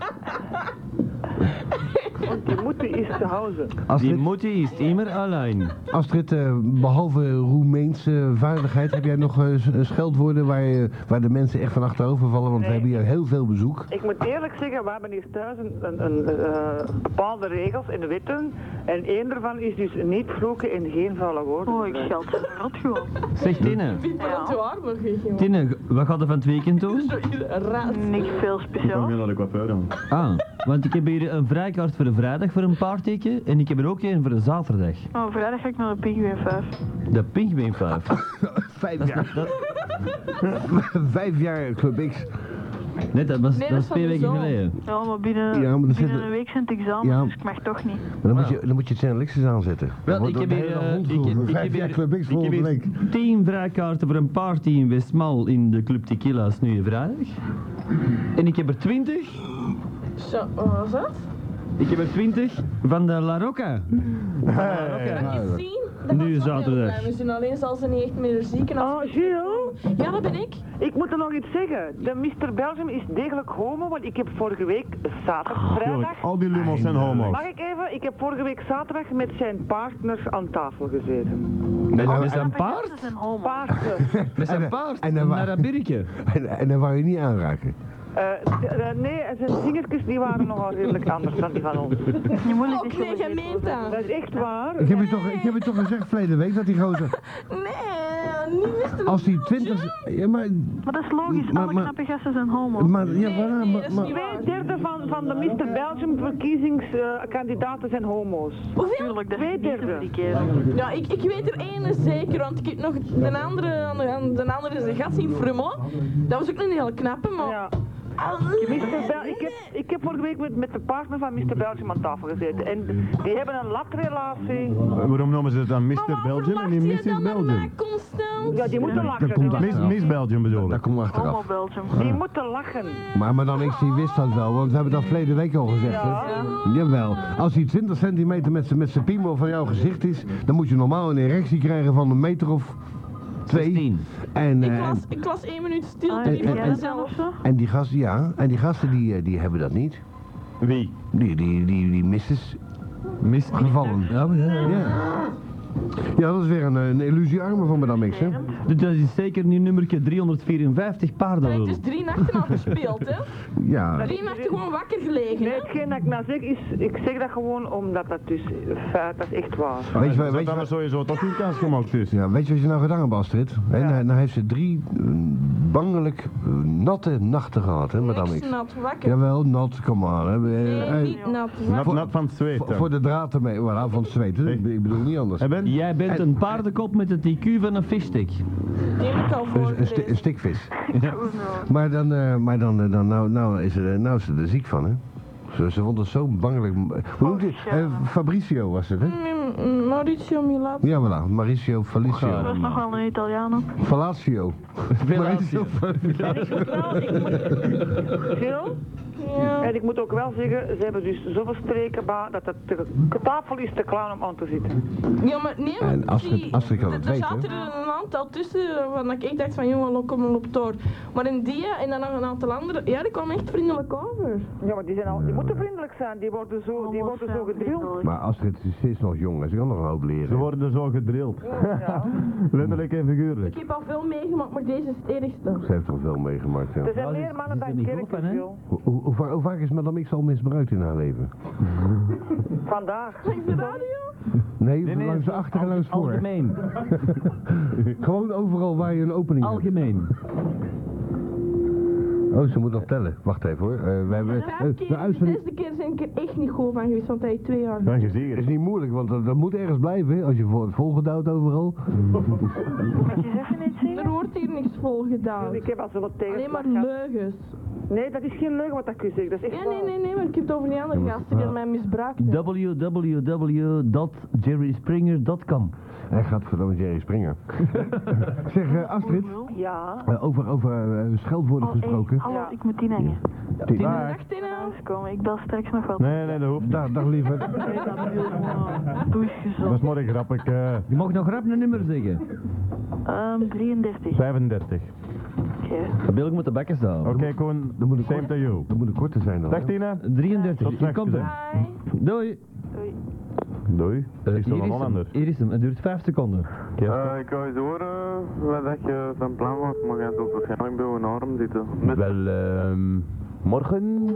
[SPEAKER 7] want je moet die eens te houden.
[SPEAKER 6] Die
[SPEAKER 5] Astrid,
[SPEAKER 6] moet die is immer alleen.
[SPEAKER 5] Astrid eh, behalve Roemeense vaardigheid, heb jij nog eh, s- eh, scheldwoorden waar, je- waar de mensen echt van achterover vallen? Want we
[SPEAKER 7] Nee.
[SPEAKER 5] hebben hier heel veel bezoek.
[SPEAKER 7] Ik moet eerlijk zeggen, we hebben hier thuis een, een, een, eh, bepaalde regels en wetten. En één daarvan is dus niet vloeken en geen vallen woorden.
[SPEAKER 2] Oh, ik scheld ze maar rot gewoon.
[SPEAKER 6] Zeg Tinne.
[SPEAKER 4] Wie praat je waar, maar geen jongen?
[SPEAKER 6] Tinne, wat gaat er van het weekend doen?
[SPEAKER 4] Raad.
[SPEAKER 2] Niks veel
[SPEAKER 1] Kom
[SPEAKER 2] speciaal.
[SPEAKER 1] weer naar de coiffeur dan.
[SPEAKER 6] Ah, want ik heb hier een vrijkaart voor de vrijdag voor een paardteken en ik heb er ook één voor de zaterdag.
[SPEAKER 2] Maar vrijdag ga ik naar de Pinguïn 5.
[SPEAKER 6] De Pinguïn 5.
[SPEAKER 5] Vijf jaar, vijf jaar Club X.
[SPEAKER 6] Nee, dat was,
[SPEAKER 4] Nee, dat
[SPEAKER 6] dat was
[SPEAKER 4] is van
[SPEAKER 6] twee
[SPEAKER 4] de
[SPEAKER 6] weken
[SPEAKER 4] zomer.
[SPEAKER 6] geleden.
[SPEAKER 2] Ja, maar binnen,
[SPEAKER 5] Ja, maar er
[SPEAKER 2] binnen
[SPEAKER 5] zitten-
[SPEAKER 2] een week zijn het examen,
[SPEAKER 5] Ja.
[SPEAKER 2] dus ik mag toch niet.
[SPEAKER 5] Maar dan, moet je, dan moet je Channel X's aanzetten.
[SPEAKER 6] Wel,
[SPEAKER 5] Dan
[SPEAKER 6] ik
[SPEAKER 5] wordt
[SPEAKER 6] heb
[SPEAKER 5] de
[SPEAKER 6] hier,
[SPEAKER 5] hele
[SPEAKER 6] eh,
[SPEAKER 5] hond
[SPEAKER 6] ik-
[SPEAKER 5] geroepen.
[SPEAKER 6] ik heb
[SPEAKER 5] Vijf jaar
[SPEAKER 6] hier-
[SPEAKER 5] Club X
[SPEAKER 6] Ik heb
[SPEAKER 5] volgende
[SPEAKER 6] hier
[SPEAKER 5] week.
[SPEAKER 6] 10 vrijkaarten voor een party in Westmaal in de Club Tequila's nu vrijdag. En ik heb er 20.
[SPEAKER 4] Zo, oh, wat was dat?
[SPEAKER 6] Ik heb er 20 van de La Rocca.
[SPEAKER 4] Zien? Dat
[SPEAKER 6] Nu
[SPEAKER 4] was
[SPEAKER 6] zaterdag.
[SPEAKER 4] ook heel klein. We zien alleen als ze niet echt meer ziek en als...
[SPEAKER 7] Oh, Gilles,
[SPEAKER 4] Ja, dat ben ik.
[SPEAKER 7] ik moet er nog iets zeggen. De Mr. Belgium is degelijk homo, want ik heb vorige week zaterdag, vrijdag...
[SPEAKER 1] Al die lumos zijn homo's.
[SPEAKER 7] Mag ik even? Ik heb vorige week zaterdag met zijn partner aan tafel gezeten.
[SPEAKER 5] En dan-
[SPEAKER 6] Met zijn paard?
[SPEAKER 2] Dat is een homo.
[SPEAKER 7] Partner.
[SPEAKER 6] Met zijn
[SPEAKER 5] En-
[SPEAKER 6] paard?
[SPEAKER 5] en
[SPEAKER 6] En
[SPEAKER 5] dan wa-
[SPEAKER 6] naar Abirke.
[SPEAKER 5] en- En dan wou je niet aanraken.
[SPEAKER 7] Eh, d- eh, nee, en zijn vingertjes die waren nogal redelijk anders dan die van ons.
[SPEAKER 2] Je moeilijk
[SPEAKER 7] Oh,
[SPEAKER 4] Ook
[SPEAKER 2] is wel
[SPEAKER 4] nee, jij
[SPEAKER 2] eens
[SPEAKER 4] meent dat.
[SPEAKER 7] Dat is echt waar.
[SPEAKER 5] Ik heb, je toch, ik heb je toch gezegd verleden week dat die gozer,
[SPEAKER 4] Nee, niet Mr.
[SPEAKER 5] als die 20. Ja, maar,
[SPEAKER 2] Maar dat is logisch,
[SPEAKER 5] Maar-
[SPEAKER 2] alle
[SPEAKER 5] maar-
[SPEAKER 2] knappe gasten zijn homo.
[SPEAKER 5] maar, ja, maar, maar, maar-
[SPEAKER 7] Twee derde van, van de Mr. Belgium verkiezingskandidaten zijn homo's.
[SPEAKER 4] Hoeveel?
[SPEAKER 2] Tuurlijk, dat
[SPEAKER 7] Twee
[SPEAKER 2] is niet zo
[SPEAKER 7] derde.
[SPEAKER 2] voor die kerel.
[SPEAKER 4] Ja, ik, ik weet er één zeker, want ik heb nog de andere, aan de- aan de andere is een gat zien frummen. Dat was ook een heel knappe, maar...
[SPEAKER 7] Ja.
[SPEAKER 4] Ah,
[SPEAKER 7] Mr. Bel ik, heb, ik heb vorige week met, met de partner van Mr. Belgium aan tafel gezeten. En die hebben een latrelatie.
[SPEAKER 1] Waarom noemen ze het dan
[SPEAKER 4] maar
[SPEAKER 1] Mr.
[SPEAKER 4] wat
[SPEAKER 1] Belgium en
[SPEAKER 4] verwacht
[SPEAKER 1] niet
[SPEAKER 4] je
[SPEAKER 1] Mrs.
[SPEAKER 4] dan met mij
[SPEAKER 1] Belgium?
[SPEAKER 4] constant?
[SPEAKER 7] Ja, die moeten
[SPEAKER 5] dat komt
[SPEAKER 7] lachen.
[SPEAKER 5] daar.
[SPEAKER 1] Miss, Miss Belgium bedoel
[SPEAKER 5] dat
[SPEAKER 1] ik.
[SPEAKER 5] komt
[SPEAKER 2] Homo
[SPEAKER 5] Nou, achteraf.
[SPEAKER 2] Belgium.
[SPEAKER 7] Die
[SPEAKER 6] Ah.
[SPEAKER 7] moeten lachen.
[SPEAKER 5] Maar Madame X die wist dat wel, want we hebben dat verleden week al gezegd. hè? Jawel, als die 20 centimeter met zijn met z'n piemel van jouw gezicht is, dan moet je normaal een erectie krijgen van een meter of twee.
[SPEAKER 6] 16.
[SPEAKER 5] En,
[SPEAKER 4] Ik
[SPEAKER 5] eh,
[SPEAKER 4] las,
[SPEAKER 5] en,
[SPEAKER 4] ik las één minuut stil,
[SPEAKER 2] Ah,
[SPEAKER 4] drie
[SPEAKER 5] en-
[SPEAKER 4] voor
[SPEAKER 5] en-
[SPEAKER 4] mezelf.
[SPEAKER 2] of zo?
[SPEAKER 5] en die gasten, ja, en die gasten die, eh, die hebben dat niet.
[SPEAKER 6] Wie?
[SPEAKER 5] Die, die, die, die misses
[SPEAKER 6] Mist.
[SPEAKER 5] gevallen.
[SPEAKER 6] Ja, maar ja.
[SPEAKER 5] Ja. ja, dat is weer een, een illusie arme van Madame X, hè?
[SPEAKER 6] Dus Dat is zeker nu nummertje 354
[SPEAKER 4] Ik heb
[SPEAKER 6] paardenlul.
[SPEAKER 4] dus drie nachten al gespeeld, hè.
[SPEAKER 5] Ja,
[SPEAKER 4] Drie nachten gewoon wakker gelegen,
[SPEAKER 7] Nee,
[SPEAKER 4] hè.
[SPEAKER 7] hetgeen dat ik nou zeg is, ik zeg dat gewoon omdat dat dus feit, dat is echt waar.
[SPEAKER 5] weet je,
[SPEAKER 1] Zo
[SPEAKER 5] wat- weet je,
[SPEAKER 1] dat
[SPEAKER 5] wat-
[SPEAKER 1] er sowieso toch geen kans gemaakt is.
[SPEAKER 5] Ja, weet je wat je nou gedaan hebt, Astrid? Hè, nou, nou heeft ze drie eh, bangelijk eh, natte nachten gehad, hè, madame
[SPEAKER 4] Niks
[SPEAKER 5] X.
[SPEAKER 4] nat wakker.
[SPEAKER 5] Jawel, nat, kom aan. Hè. Eh,
[SPEAKER 4] Nee,
[SPEAKER 5] eh,
[SPEAKER 4] niet nat wakker.
[SPEAKER 1] Nat, nat van het zweet.
[SPEAKER 5] voor,
[SPEAKER 1] hè.
[SPEAKER 5] voor de draad ermee, voilà, van het zweet. hè. Ik be- ik bedoel niet anders.
[SPEAKER 1] Hè,
[SPEAKER 5] Een,
[SPEAKER 1] Ben?
[SPEAKER 6] Jij bent een paardenkop met het IQ van een fishstick.
[SPEAKER 4] Die heb ik al dus.
[SPEAKER 5] een, sti-
[SPEAKER 4] voorgelezen.
[SPEAKER 5] een stikvis.
[SPEAKER 2] Oh, no.
[SPEAKER 5] Maar dan, eh, maar dan, eh, dan nou, nou, is er, eh, nou is ze er ziek van, hè? Ze, ze vond het zo bangelijk. Hoe noemt hij? Eh, Fabrizio was het, hè?
[SPEAKER 4] Oh, Mm, Mauricio Milat.
[SPEAKER 5] Ja, voilà. Mauricio
[SPEAKER 2] Dat
[SPEAKER 4] Oh,
[SPEAKER 5] Falicio.
[SPEAKER 2] was nog wel een Italiaan ook.
[SPEAKER 5] Falatio. Mauricio
[SPEAKER 7] Nou, ik moet... Gilles?
[SPEAKER 4] Ja.
[SPEAKER 7] En ik moet ook wel zeggen, ze hebben dus zoveel streken ba- dat het de tafel is te klaar om aan te zitten.
[SPEAKER 4] ja, maar nee, maar
[SPEAKER 5] En Astrid-
[SPEAKER 4] die-
[SPEAKER 5] Astrid kan het
[SPEAKER 4] er-
[SPEAKER 5] weten,
[SPEAKER 4] Er zaten er een aantal tussen waarvan ik echt dacht van, jongen, lok hem op door. Maar in die en dan nog een aantal andere, ja, die kwamen echt vriendelijk over.
[SPEAKER 7] Ja, maar die, zijn al, die moeten vriendelijk zijn, die worden zo, die worden zo gedrild.
[SPEAKER 5] Maar Astrid is- ze is nog jong, hè. ze kan nog een hoop
[SPEAKER 1] Ze
[SPEAKER 5] leren.
[SPEAKER 1] worden zo gedrild. Letterlijk en figuurlijk.
[SPEAKER 4] Ik heb al veel meegemaakt, maar deze is het ergste.
[SPEAKER 5] Ze heeft toch veel meegemaakt, hè?
[SPEAKER 7] Er zijn
[SPEAKER 6] Ja,
[SPEAKER 7] meer
[SPEAKER 6] dit-
[SPEAKER 7] mannen
[SPEAKER 6] dit
[SPEAKER 7] dan
[SPEAKER 6] is niet
[SPEAKER 7] kerken,
[SPEAKER 6] open, hè?
[SPEAKER 7] Gilles.
[SPEAKER 5] Hoe, hoe- hoe va- hoe vaak is Madame X al misbruikt in haar leven?
[SPEAKER 7] Vandaag.
[SPEAKER 4] Langs de radio?
[SPEAKER 5] Nee, langs de achter en langs voor.
[SPEAKER 6] Algemeen.
[SPEAKER 5] Gewoon overal waar je een opening hebt.
[SPEAKER 6] Algemeen.
[SPEAKER 5] Oké, Oh, ze moet nog tellen. Wacht even hoor. Eh, we hebben...
[SPEAKER 4] Vijf
[SPEAKER 5] eh, de
[SPEAKER 4] keer, de
[SPEAKER 5] uitzending
[SPEAKER 4] zesde keer zijn ik er echt niet goed van geweest, want hij heeft twee jaar.
[SPEAKER 1] Ja, je ziet
[SPEAKER 5] is
[SPEAKER 1] het.
[SPEAKER 5] niet moeilijk, want dat, dat moet ergens blijven. hè, Als je voor het volgedouwd overal.
[SPEAKER 2] Moet je even niet
[SPEAKER 4] Er
[SPEAKER 2] zingen?
[SPEAKER 4] wordt hier niks vol gedaan.
[SPEAKER 7] Ik heb al zo wat
[SPEAKER 4] Alleen
[SPEAKER 7] tegenslag
[SPEAKER 4] maar
[SPEAKER 7] gehad.
[SPEAKER 4] leugens.
[SPEAKER 7] Nee, dat is geen leugen wat ik u zeg. Dat is echt
[SPEAKER 4] Ja,
[SPEAKER 7] waar.
[SPEAKER 4] nee, nee, nee, maar ik heb het over die andere gast die mij misbruikt heeft.
[SPEAKER 6] www.jerryspringer.com
[SPEAKER 5] Hij gaat verdomme Jerry Springer. zeg eh, Astrid,
[SPEAKER 7] Ja,
[SPEAKER 5] eh, over, over eh, scheldwoorden
[SPEAKER 2] Oh, hey,
[SPEAKER 5] gesproken.
[SPEAKER 2] hallo,
[SPEAKER 7] Ja.
[SPEAKER 2] ik moet die hangen.
[SPEAKER 1] Dag.
[SPEAKER 4] Dag Tina.
[SPEAKER 2] Komen, ik bel straks nog wel.
[SPEAKER 1] Nee, nee, dat hoeft niet.
[SPEAKER 5] Dag, dag lieve.
[SPEAKER 2] Nee, dat wil ik gewoon. Doe eens
[SPEAKER 1] Dat is
[SPEAKER 2] gezond.
[SPEAKER 1] maar een grap. Ik, eh,
[SPEAKER 6] Je mag nog rap een nummer zeggen.
[SPEAKER 2] Ehm, 33.
[SPEAKER 1] 35.
[SPEAKER 2] Oké.
[SPEAKER 6] Wil ik met de bekken staan.
[SPEAKER 1] Oké, Koen.
[SPEAKER 5] Dan moet ik
[SPEAKER 1] Same
[SPEAKER 5] kort-
[SPEAKER 1] to you.
[SPEAKER 5] dat moet een korte zijn dan.
[SPEAKER 1] Dag Tina.
[SPEAKER 6] 33,
[SPEAKER 1] Tot
[SPEAKER 6] ik
[SPEAKER 1] straks,
[SPEAKER 6] kom
[SPEAKER 1] hè.
[SPEAKER 6] er.
[SPEAKER 4] Hi.
[SPEAKER 6] Doei.
[SPEAKER 1] Doei.
[SPEAKER 6] Eh,
[SPEAKER 1] Is
[SPEAKER 6] hier
[SPEAKER 1] toch een Hollander?
[SPEAKER 6] Hier is hem, het duurt 5 seconden.
[SPEAKER 8] Eh, ik wou eens horen wat dat je van plan was, maar jij zult waarschijnlijk bij een arm zitten. Met
[SPEAKER 1] Wel, ehm, morgen,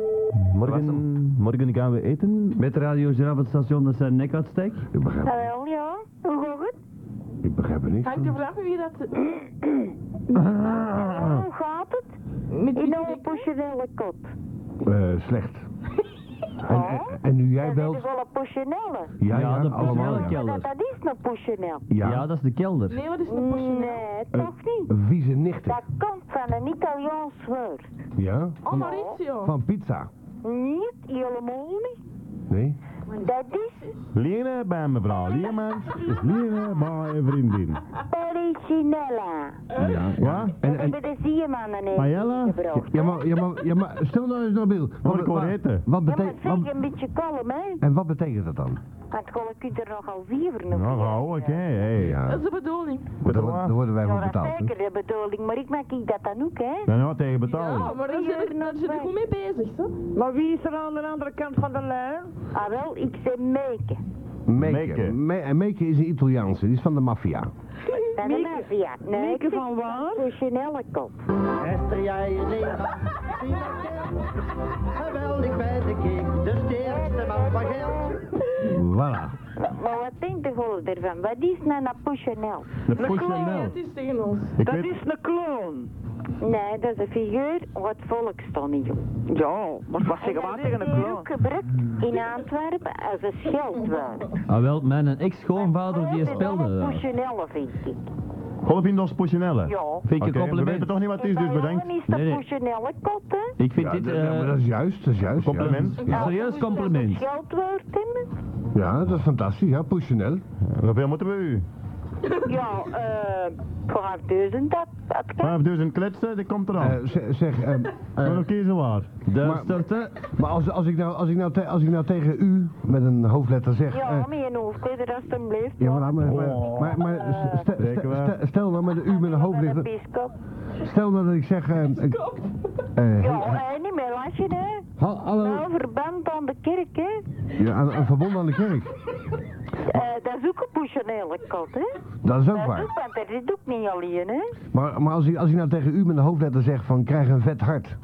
[SPEAKER 1] morgen, morgen gaan we eten.
[SPEAKER 6] Met Radio Giraffe het station, dat zijn nek uitsteek.
[SPEAKER 5] Ik begrijp,
[SPEAKER 9] Hallo, ja. Hoe gaat het?
[SPEAKER 5] ik begrijp er niks
[SPEAKER 4] Hangt
[SPEAKER 5] van.
[SPEAKER 4] er vanaf met wie dat...
[SPEAKER 5] Ah.
[SPEAKER 9] Hoe gaat het?
[SPEAKER 4] Met wie
[SPEAKER 9] In een
[SPEAKER 4] dat-
[SPEAKER 9] portionele kot.
[SPEAKER 5] Eh, slecht. En, en, en nu jij
[SPEAKER 9] Dat is
[SPEAKER 5] belt...
[SPEAKER 9] wel een portionele.
[SPEAKER 6] Ja,
[SPEAKER 5] Ja, ja,
[SPEAKER 6] dat is wel
[SPEAKER 5] allemaal
[SPEAKER 6] een
[SPEAKER 5] ja.
[SPEAKER 6] kelder.
[SPEAKER 9] Dat, dat is een portioneel.
[SPEAKER 5] Ja.
[SPEAKER 6] Ja, dat is de kelder.
[SPEAKER 4] Nee, wat is een portioneel?
[SPEAKER 9] Nee, toch niet.
[SPEAKER 5] Vieze nichten.
[SPEAKER 9] Dat komt van een Italiaans woord.
[SPEAKER 5] Ja?
[SPEAKER 4] Oh, Maurizio.
[SPEAKER 5] Van pizza.
[SPEAKER 9] Niet, helemaal niet.
[SPEAKER 5] Nee?
[SPEAKER 9] Dat is
[SPEAKER 1] Lene bij mevrouw Leermans is Lene bij een vriendin.
[SPEAKER 9] pericinella.
[SPEAKER 5] Ja. ja? En,
[SPEAKER 9] Dat
[SPEAKER 5] en,
[SPEAKER 9] hebben de ziermannen in
[SPEAKER 1] Paella?
[SPEAKER 9] gebracht.
[SPEAKER 5] ja, maar, ja, maar, ja, maar stel nou eens dat beeld.
[SPEAKER 1] Moet ik hoor eten?
[SPEAKER 5] Wat
[SPEAKER 9] Ja, maar
[SPEAKER 5] betekent...
[SPEAKER 9] zeg een beetje kalm, hè.
[SPEAKER 5] En wat betekent dat dan?
[SPEAKER 9] Want gewoon kun je er nogal vier nog
[SPEAKER 1] Nou, gauw, oké. Hey.
[SPEAKER 5] Ja,
[SPEAKER 4] Dat is de bedoeling.
[SPEAKER 5] maar daar worden- daar worden wij voor
[SPEAKER 9] Ja, dat is
[SPEAKER 5] betaald. hè?
[SPEAKER 9] zeker de bedoeling, maar ik maak ik dat dan ook, hè.
[SPEAKER 1] Dan nou tegen
[SPEAKER 4] Ja,
[SPEAKER 1] betalen.
[SPEAKER 4] maar daar zit ik- daar zit ik goed mee bezig, toch?
[SPEAKER 7] maar wie is er aan de andere kant van de lijn?
[SPEAKER 9] Ah, wel, ik zeg meken.
[SPEAKER 1] Meke.
[SPEAKER 5] Meke. Me- En Meke is een Italiaanse, die is van de maffia.
[SPEAKER 9] Dan een maffia. Nee,
[SPEAKER 7] Meke
[SPEAKER 9] ik zeg
[SPEAKER 7] van waar?
[SPEAKER 9] Portionele kot.
[SPEAKER 10] Esther, jij je leraar. Geweldig bij de kik, dus de eerste man van geld.
[SPEAKER 5] Voilà.
[SPEAKER 9] Maar wat denkt de gozer ervan? Wat is nou een portioneel?
[SPEAKER 1] De
[SPEAKER 4] Ja,
[SPEAKER 1] Pochonel.
[SPEAKER 4] het is tegen ons.
[SPEAKER 1] Ik
[SPEAKER 7] Dat
[SPEAKER 1] weet,
[SPEAKER 7] is een kloon.
[SPEAKER 9] Nee, dat is een figuur wat volk stond niet op.
[SPEAKER 7] Ja, maar
[SPEAKER 9] Oh,
[SPEAKER 7] wat zeggen we aan tegen een
[SPEAKER 9] Die is
[SPEAKER 7] kloon?
[SPEAKER 9] ook gebruikt in Antwerpen als een scheldwoord.
[SPEAKER 6] Ah wel, mijn ex-schoonvader die eh?
[SPEAKER 9] Dat is wel
[SPEAKER 6] speelde
[SPEAKER 9] een
[SPEAKER 6] dat.
[SPEAKER 9] portioneel, vind ik.
[SPEAKER 1] golf in ons Pochonelle.
[SPEAKER 9] Ja.
[SPEAKER 6] Vind je
[SPEAKER 1] Oké, we weten
[SPEAKER 6] compliment?
[SPEAKER 1] toch niet wat het is, dus bedankt.
[SPEAKER 9] Dan is
[SPEAKER 6] Nee, nee.
[SPEAKER 9] dat portionele kot, hè.
[SPEAKER 6] Ik vind
[SPEAKER 5] Ja,
[SPEAKER 6] dit
[SPEAKER 5] dat,
[SPEAKER 6] eh,
[SPEAKER 5] ja, maar dat is juist, dat is juist. ja.
[SPEAKER 1] Compliment.
[SPEAKER 6] een serieus compliment.
[SPEAKER 9] Scheldwoord, hè.
[SPEAKER 5] Ja, dat is fantastisch, ja, Pouchinel.
[SPEAKER 1] Oh. Hoeveel moeten we u?
[SPEAKER 9] Ja, eh, voor haar duizend, dat, dat kan.
[SPEAKER 1] 5000 kletsen, dus die komt eraan.
[SPEAKER 5] Eh, ze- zeg, ehm,
[SPEAKER 1] Dan oké, ze waar.
[SPEAKER 6] de
[SPEAKER 5] maar-
[SPEAKER 6] starten.
[SPEAKER 5] maar als, als, ik nou, als, ik nou te- als ik nou tegen u met een hoofdletter zeg... eh,
[SPEAKER 9] Ja, maar je hoeft hè, de rest hem blijft.
[SPEAKER 5] ja, maar, maar,
[SPEAKER 1] Oh.
[SPEAKER 5] maar, maar,
[SPEAKER 9] Eh,
[SPEAKER 5] maar stel,
[SPEAKER 1] Zeker waar.
[SPEAKER 5] stel nou met een u met een
[SPEAKER 9] Een
[SPEAKER 5] hoofdletter...
[SPEAKER 9] pieskop.
[SPEAKER 5] Stel nou dat ik zeg... ehm, ik- eh,
[SPEAKER 9] Ja, hè, niet meer lasje, hè.
[SPEAKER 5] ha- hallo,
[SPEAKER 9] Nou, verband aan de kerk, hè.
[SPEAKER 5] ja, aan, aan verbonden aan de kerk.
[SPEAKER 9] Eh, dat is ook een portionele kot, hè.
[SPEAKER 5] Dat is ook
[SPEAKER 9] Dat is
[SPEAKER 5] waar.
[SPEAKER 9] ook, want dat zit ook niet alleen, hè.
[SPEAKER 5] Maar, maar als, ik, als ik nou tegen u met een hoofdletter zeg van krijg een vet hart...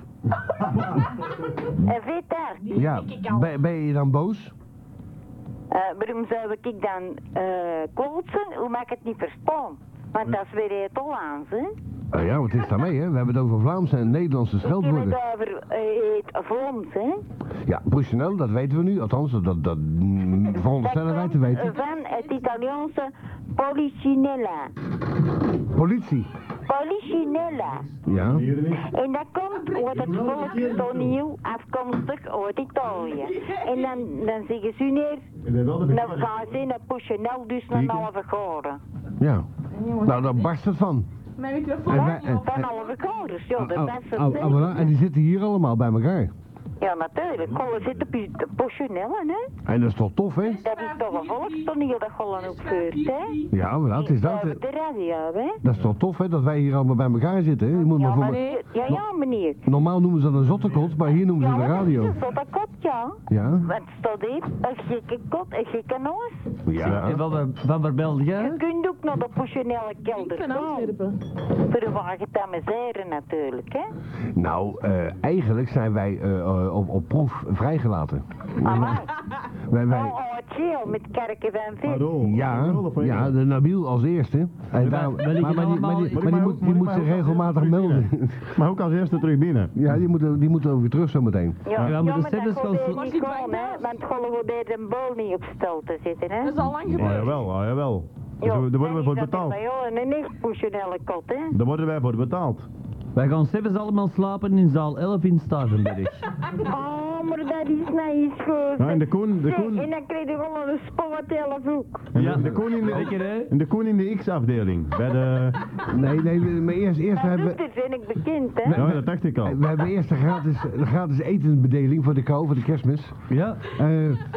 [SPEAKER 9] En weet daar.
[SPEAKER 5] Ja, ben, ben je dan boos?
[SPEAKER 9] eh, waarom zou ik dan eh klotsen? Hoe maak ik het niet verstaan? Want dat is weer het Hollands, hè.
[SPEAKER 5] Eh, ja, wat is daarmee, hè? We hebben het over Vlaamse en Nederlandse
[SPEAKER 9] Ik heb het
[SPEAKER 5] scheldwoorden.
[SPEAKER 9] over eh, het Vlaams, hè.
[SPEAKER 5] Ja, Bruxelles, dat weten we nu. Althans, dat, dat, dat mm, veronderstellen wij te weten.
[SPEAKER 9] van het Italiaanse policinella. eh.
[SPEAKER 5] Politie.
[SPEAKER 9] Policinella.
[SPEAKER 5] Ja.
[SPEAKER 9] En dat komt uit het volk Tonio, afkomstig uit Italië. En dan, dan zeggen ze neer,
[SPEAKER 1] Nou,
[SPEAKER 9] dan Nou, gaan ze in een portionel dus een halve goren.
[SPEAKER 5] Ja. Nou, daar barst het van.
[SPEAKER 4] Mijn
[SPEAKER 5] En
[SPEAKER 4] microfoon.
[SPEAKER 5] wij- en-
[SPEAKER 9] Van halve goren, ja,
[SPEAKER 5] Au,
[SPEAKER 9] dat is
[SPEAKER 5] au, au, au, Ah, voilà. En die zitten hier allemaal bij elkaar.
[SPEAKER 9] Ja, natuurlijk, gollen zitten op portionellen, hè.
[SPEAKER 5] En dat is toch tof, hè?
[SPEAKER 9] Dat is toch een volkstoneel dat gollen opgeurt, hè.
[SPEAKER 5] Ja, voilà, het is dat.
[SPEAKER 9] Op de radio, hè.
[SPEAKER 5] Dat is toch tof, hè, dat wij hier allemaal bij elkaar zitten. Hè? Je moet maar
[SPEAKER 9] Ja,
[SPEAKER 5] voor
[SPEAKER 9] maar
[SPEAKER 5] me-
[SPEAKER 9] nee, ja, ja, meneer.
[SPEAKER 5] Normaal noemen ze dat een zottekot, maar hier noemen ze
[SPEAKER 9] Ja,
[SPEAKER 5] het een
[SPEAKER 9] dat is
[SPEAKER 5] radio.
[SPEAKER 9] een zotte kot, ja.
[SPEAKER 5] Ja?
[SPEAKER 9] Wat staat hier? Een gekke kot, een gekke noos.
[SPEAKER 5] Ja.
[SPEAKER 6] En van, waar- van waar belde
[SPEAKER 9] Je
[SPEAKER 6] jij?
[SPEAKER 9] kunt ook naar de portionele
[SPEAKER 4] Ik
[SPEAKER 9] kelder
[SPEAKER 4] ben
[SPEAKER 9] gaan.
[SPEAKER 4] Antwerpen.
[SPEAKER 9] Voor een wagen te amuseren natuurlijk, hè.
[SPEAKER 5] Nou, eh, eigenlijk zijn wij eh, eh, op, op proef vrijgelaten.
[SPEAKER 9] Amai.
[SPEAKER 5] Wij, wij,
[SPEAKER 9] Oh, het geel met kerken van vis.
[SPEAKER 5] Ja, ja, de Nabil als eerste. En daar, maar die- maar die- maar die- maar die moet- die moet zich regelmatig melden.
[SPEAKER 1] Maar ook als eerste terug binnen.
[SPEAKER 5] Ja, die moeten die moeten ook weer terug zometeen.
[SPEAKER 9] Ja,
[SPEAKER 6] Ja, maar de
[SPEAKER 9] jammer dat
[SPEAKER 6] cijfers gaan
[SPEAKER 9] Goldeer
[SPEAKER 6] zo-
[SPEAKER 9] niet kon, hè, want Gollewood deed een bol niet op stal te zitten, hè.
[SPEAKER 4] Dat is al lang
[SPEAKER 1] Ah,
[SPEAKER 4] gebeurd.
[SPEAKER 1] jawel, ah, jawel.
[SPEAKER 9] Ja,
[SPEAKER 1] Daar worden we
[SPEAKER 9] en
[SPEAKER 1] voor
[SPEAKER 9] die zat
[SPEAKER 1] betaald.
[SPEAKER 9] erbij, joh, en een echt poesionelle kot, hè.
[SPEAKER 1] Daar worden wij voor betaald.
[SPEAKER 6] Wij gaan zelfs allemaal slapen in zaal 11 in Stavenberg.
[SPEAKER 9] Oh, maar dat is nou iets goed.
[SPEAKER 1] Nou, en de koen, de
[SPEAKER 9] Zeg,
[SPEAKER 1] koen,
[SPEAKER 9] En dan kreeg je gewoon een spottelf ook.
[SPEAKER 1] en de koen in de,
[SPEAKER 6] Lekker hè?
[SPEAKER 1] en de koen in de X-afdeling. Bij de...
[SPEAKER 5] Nee, nee, maar eerst, eerst
[SPEAKER 9] Dat
[SPEAKER 5] hebben we...
[SPEAKER 9] doet er, ben ik bekend, hè.
[SPEAKER 1] Ja, dat dacht ik al.
[SPEAKER 5] We hebben eerst de gratis, de gratis etensbedeling voor de kou, voor de kerstmis.
[SPEAKER 6] Ja,
[SPEAKER 5] Eh,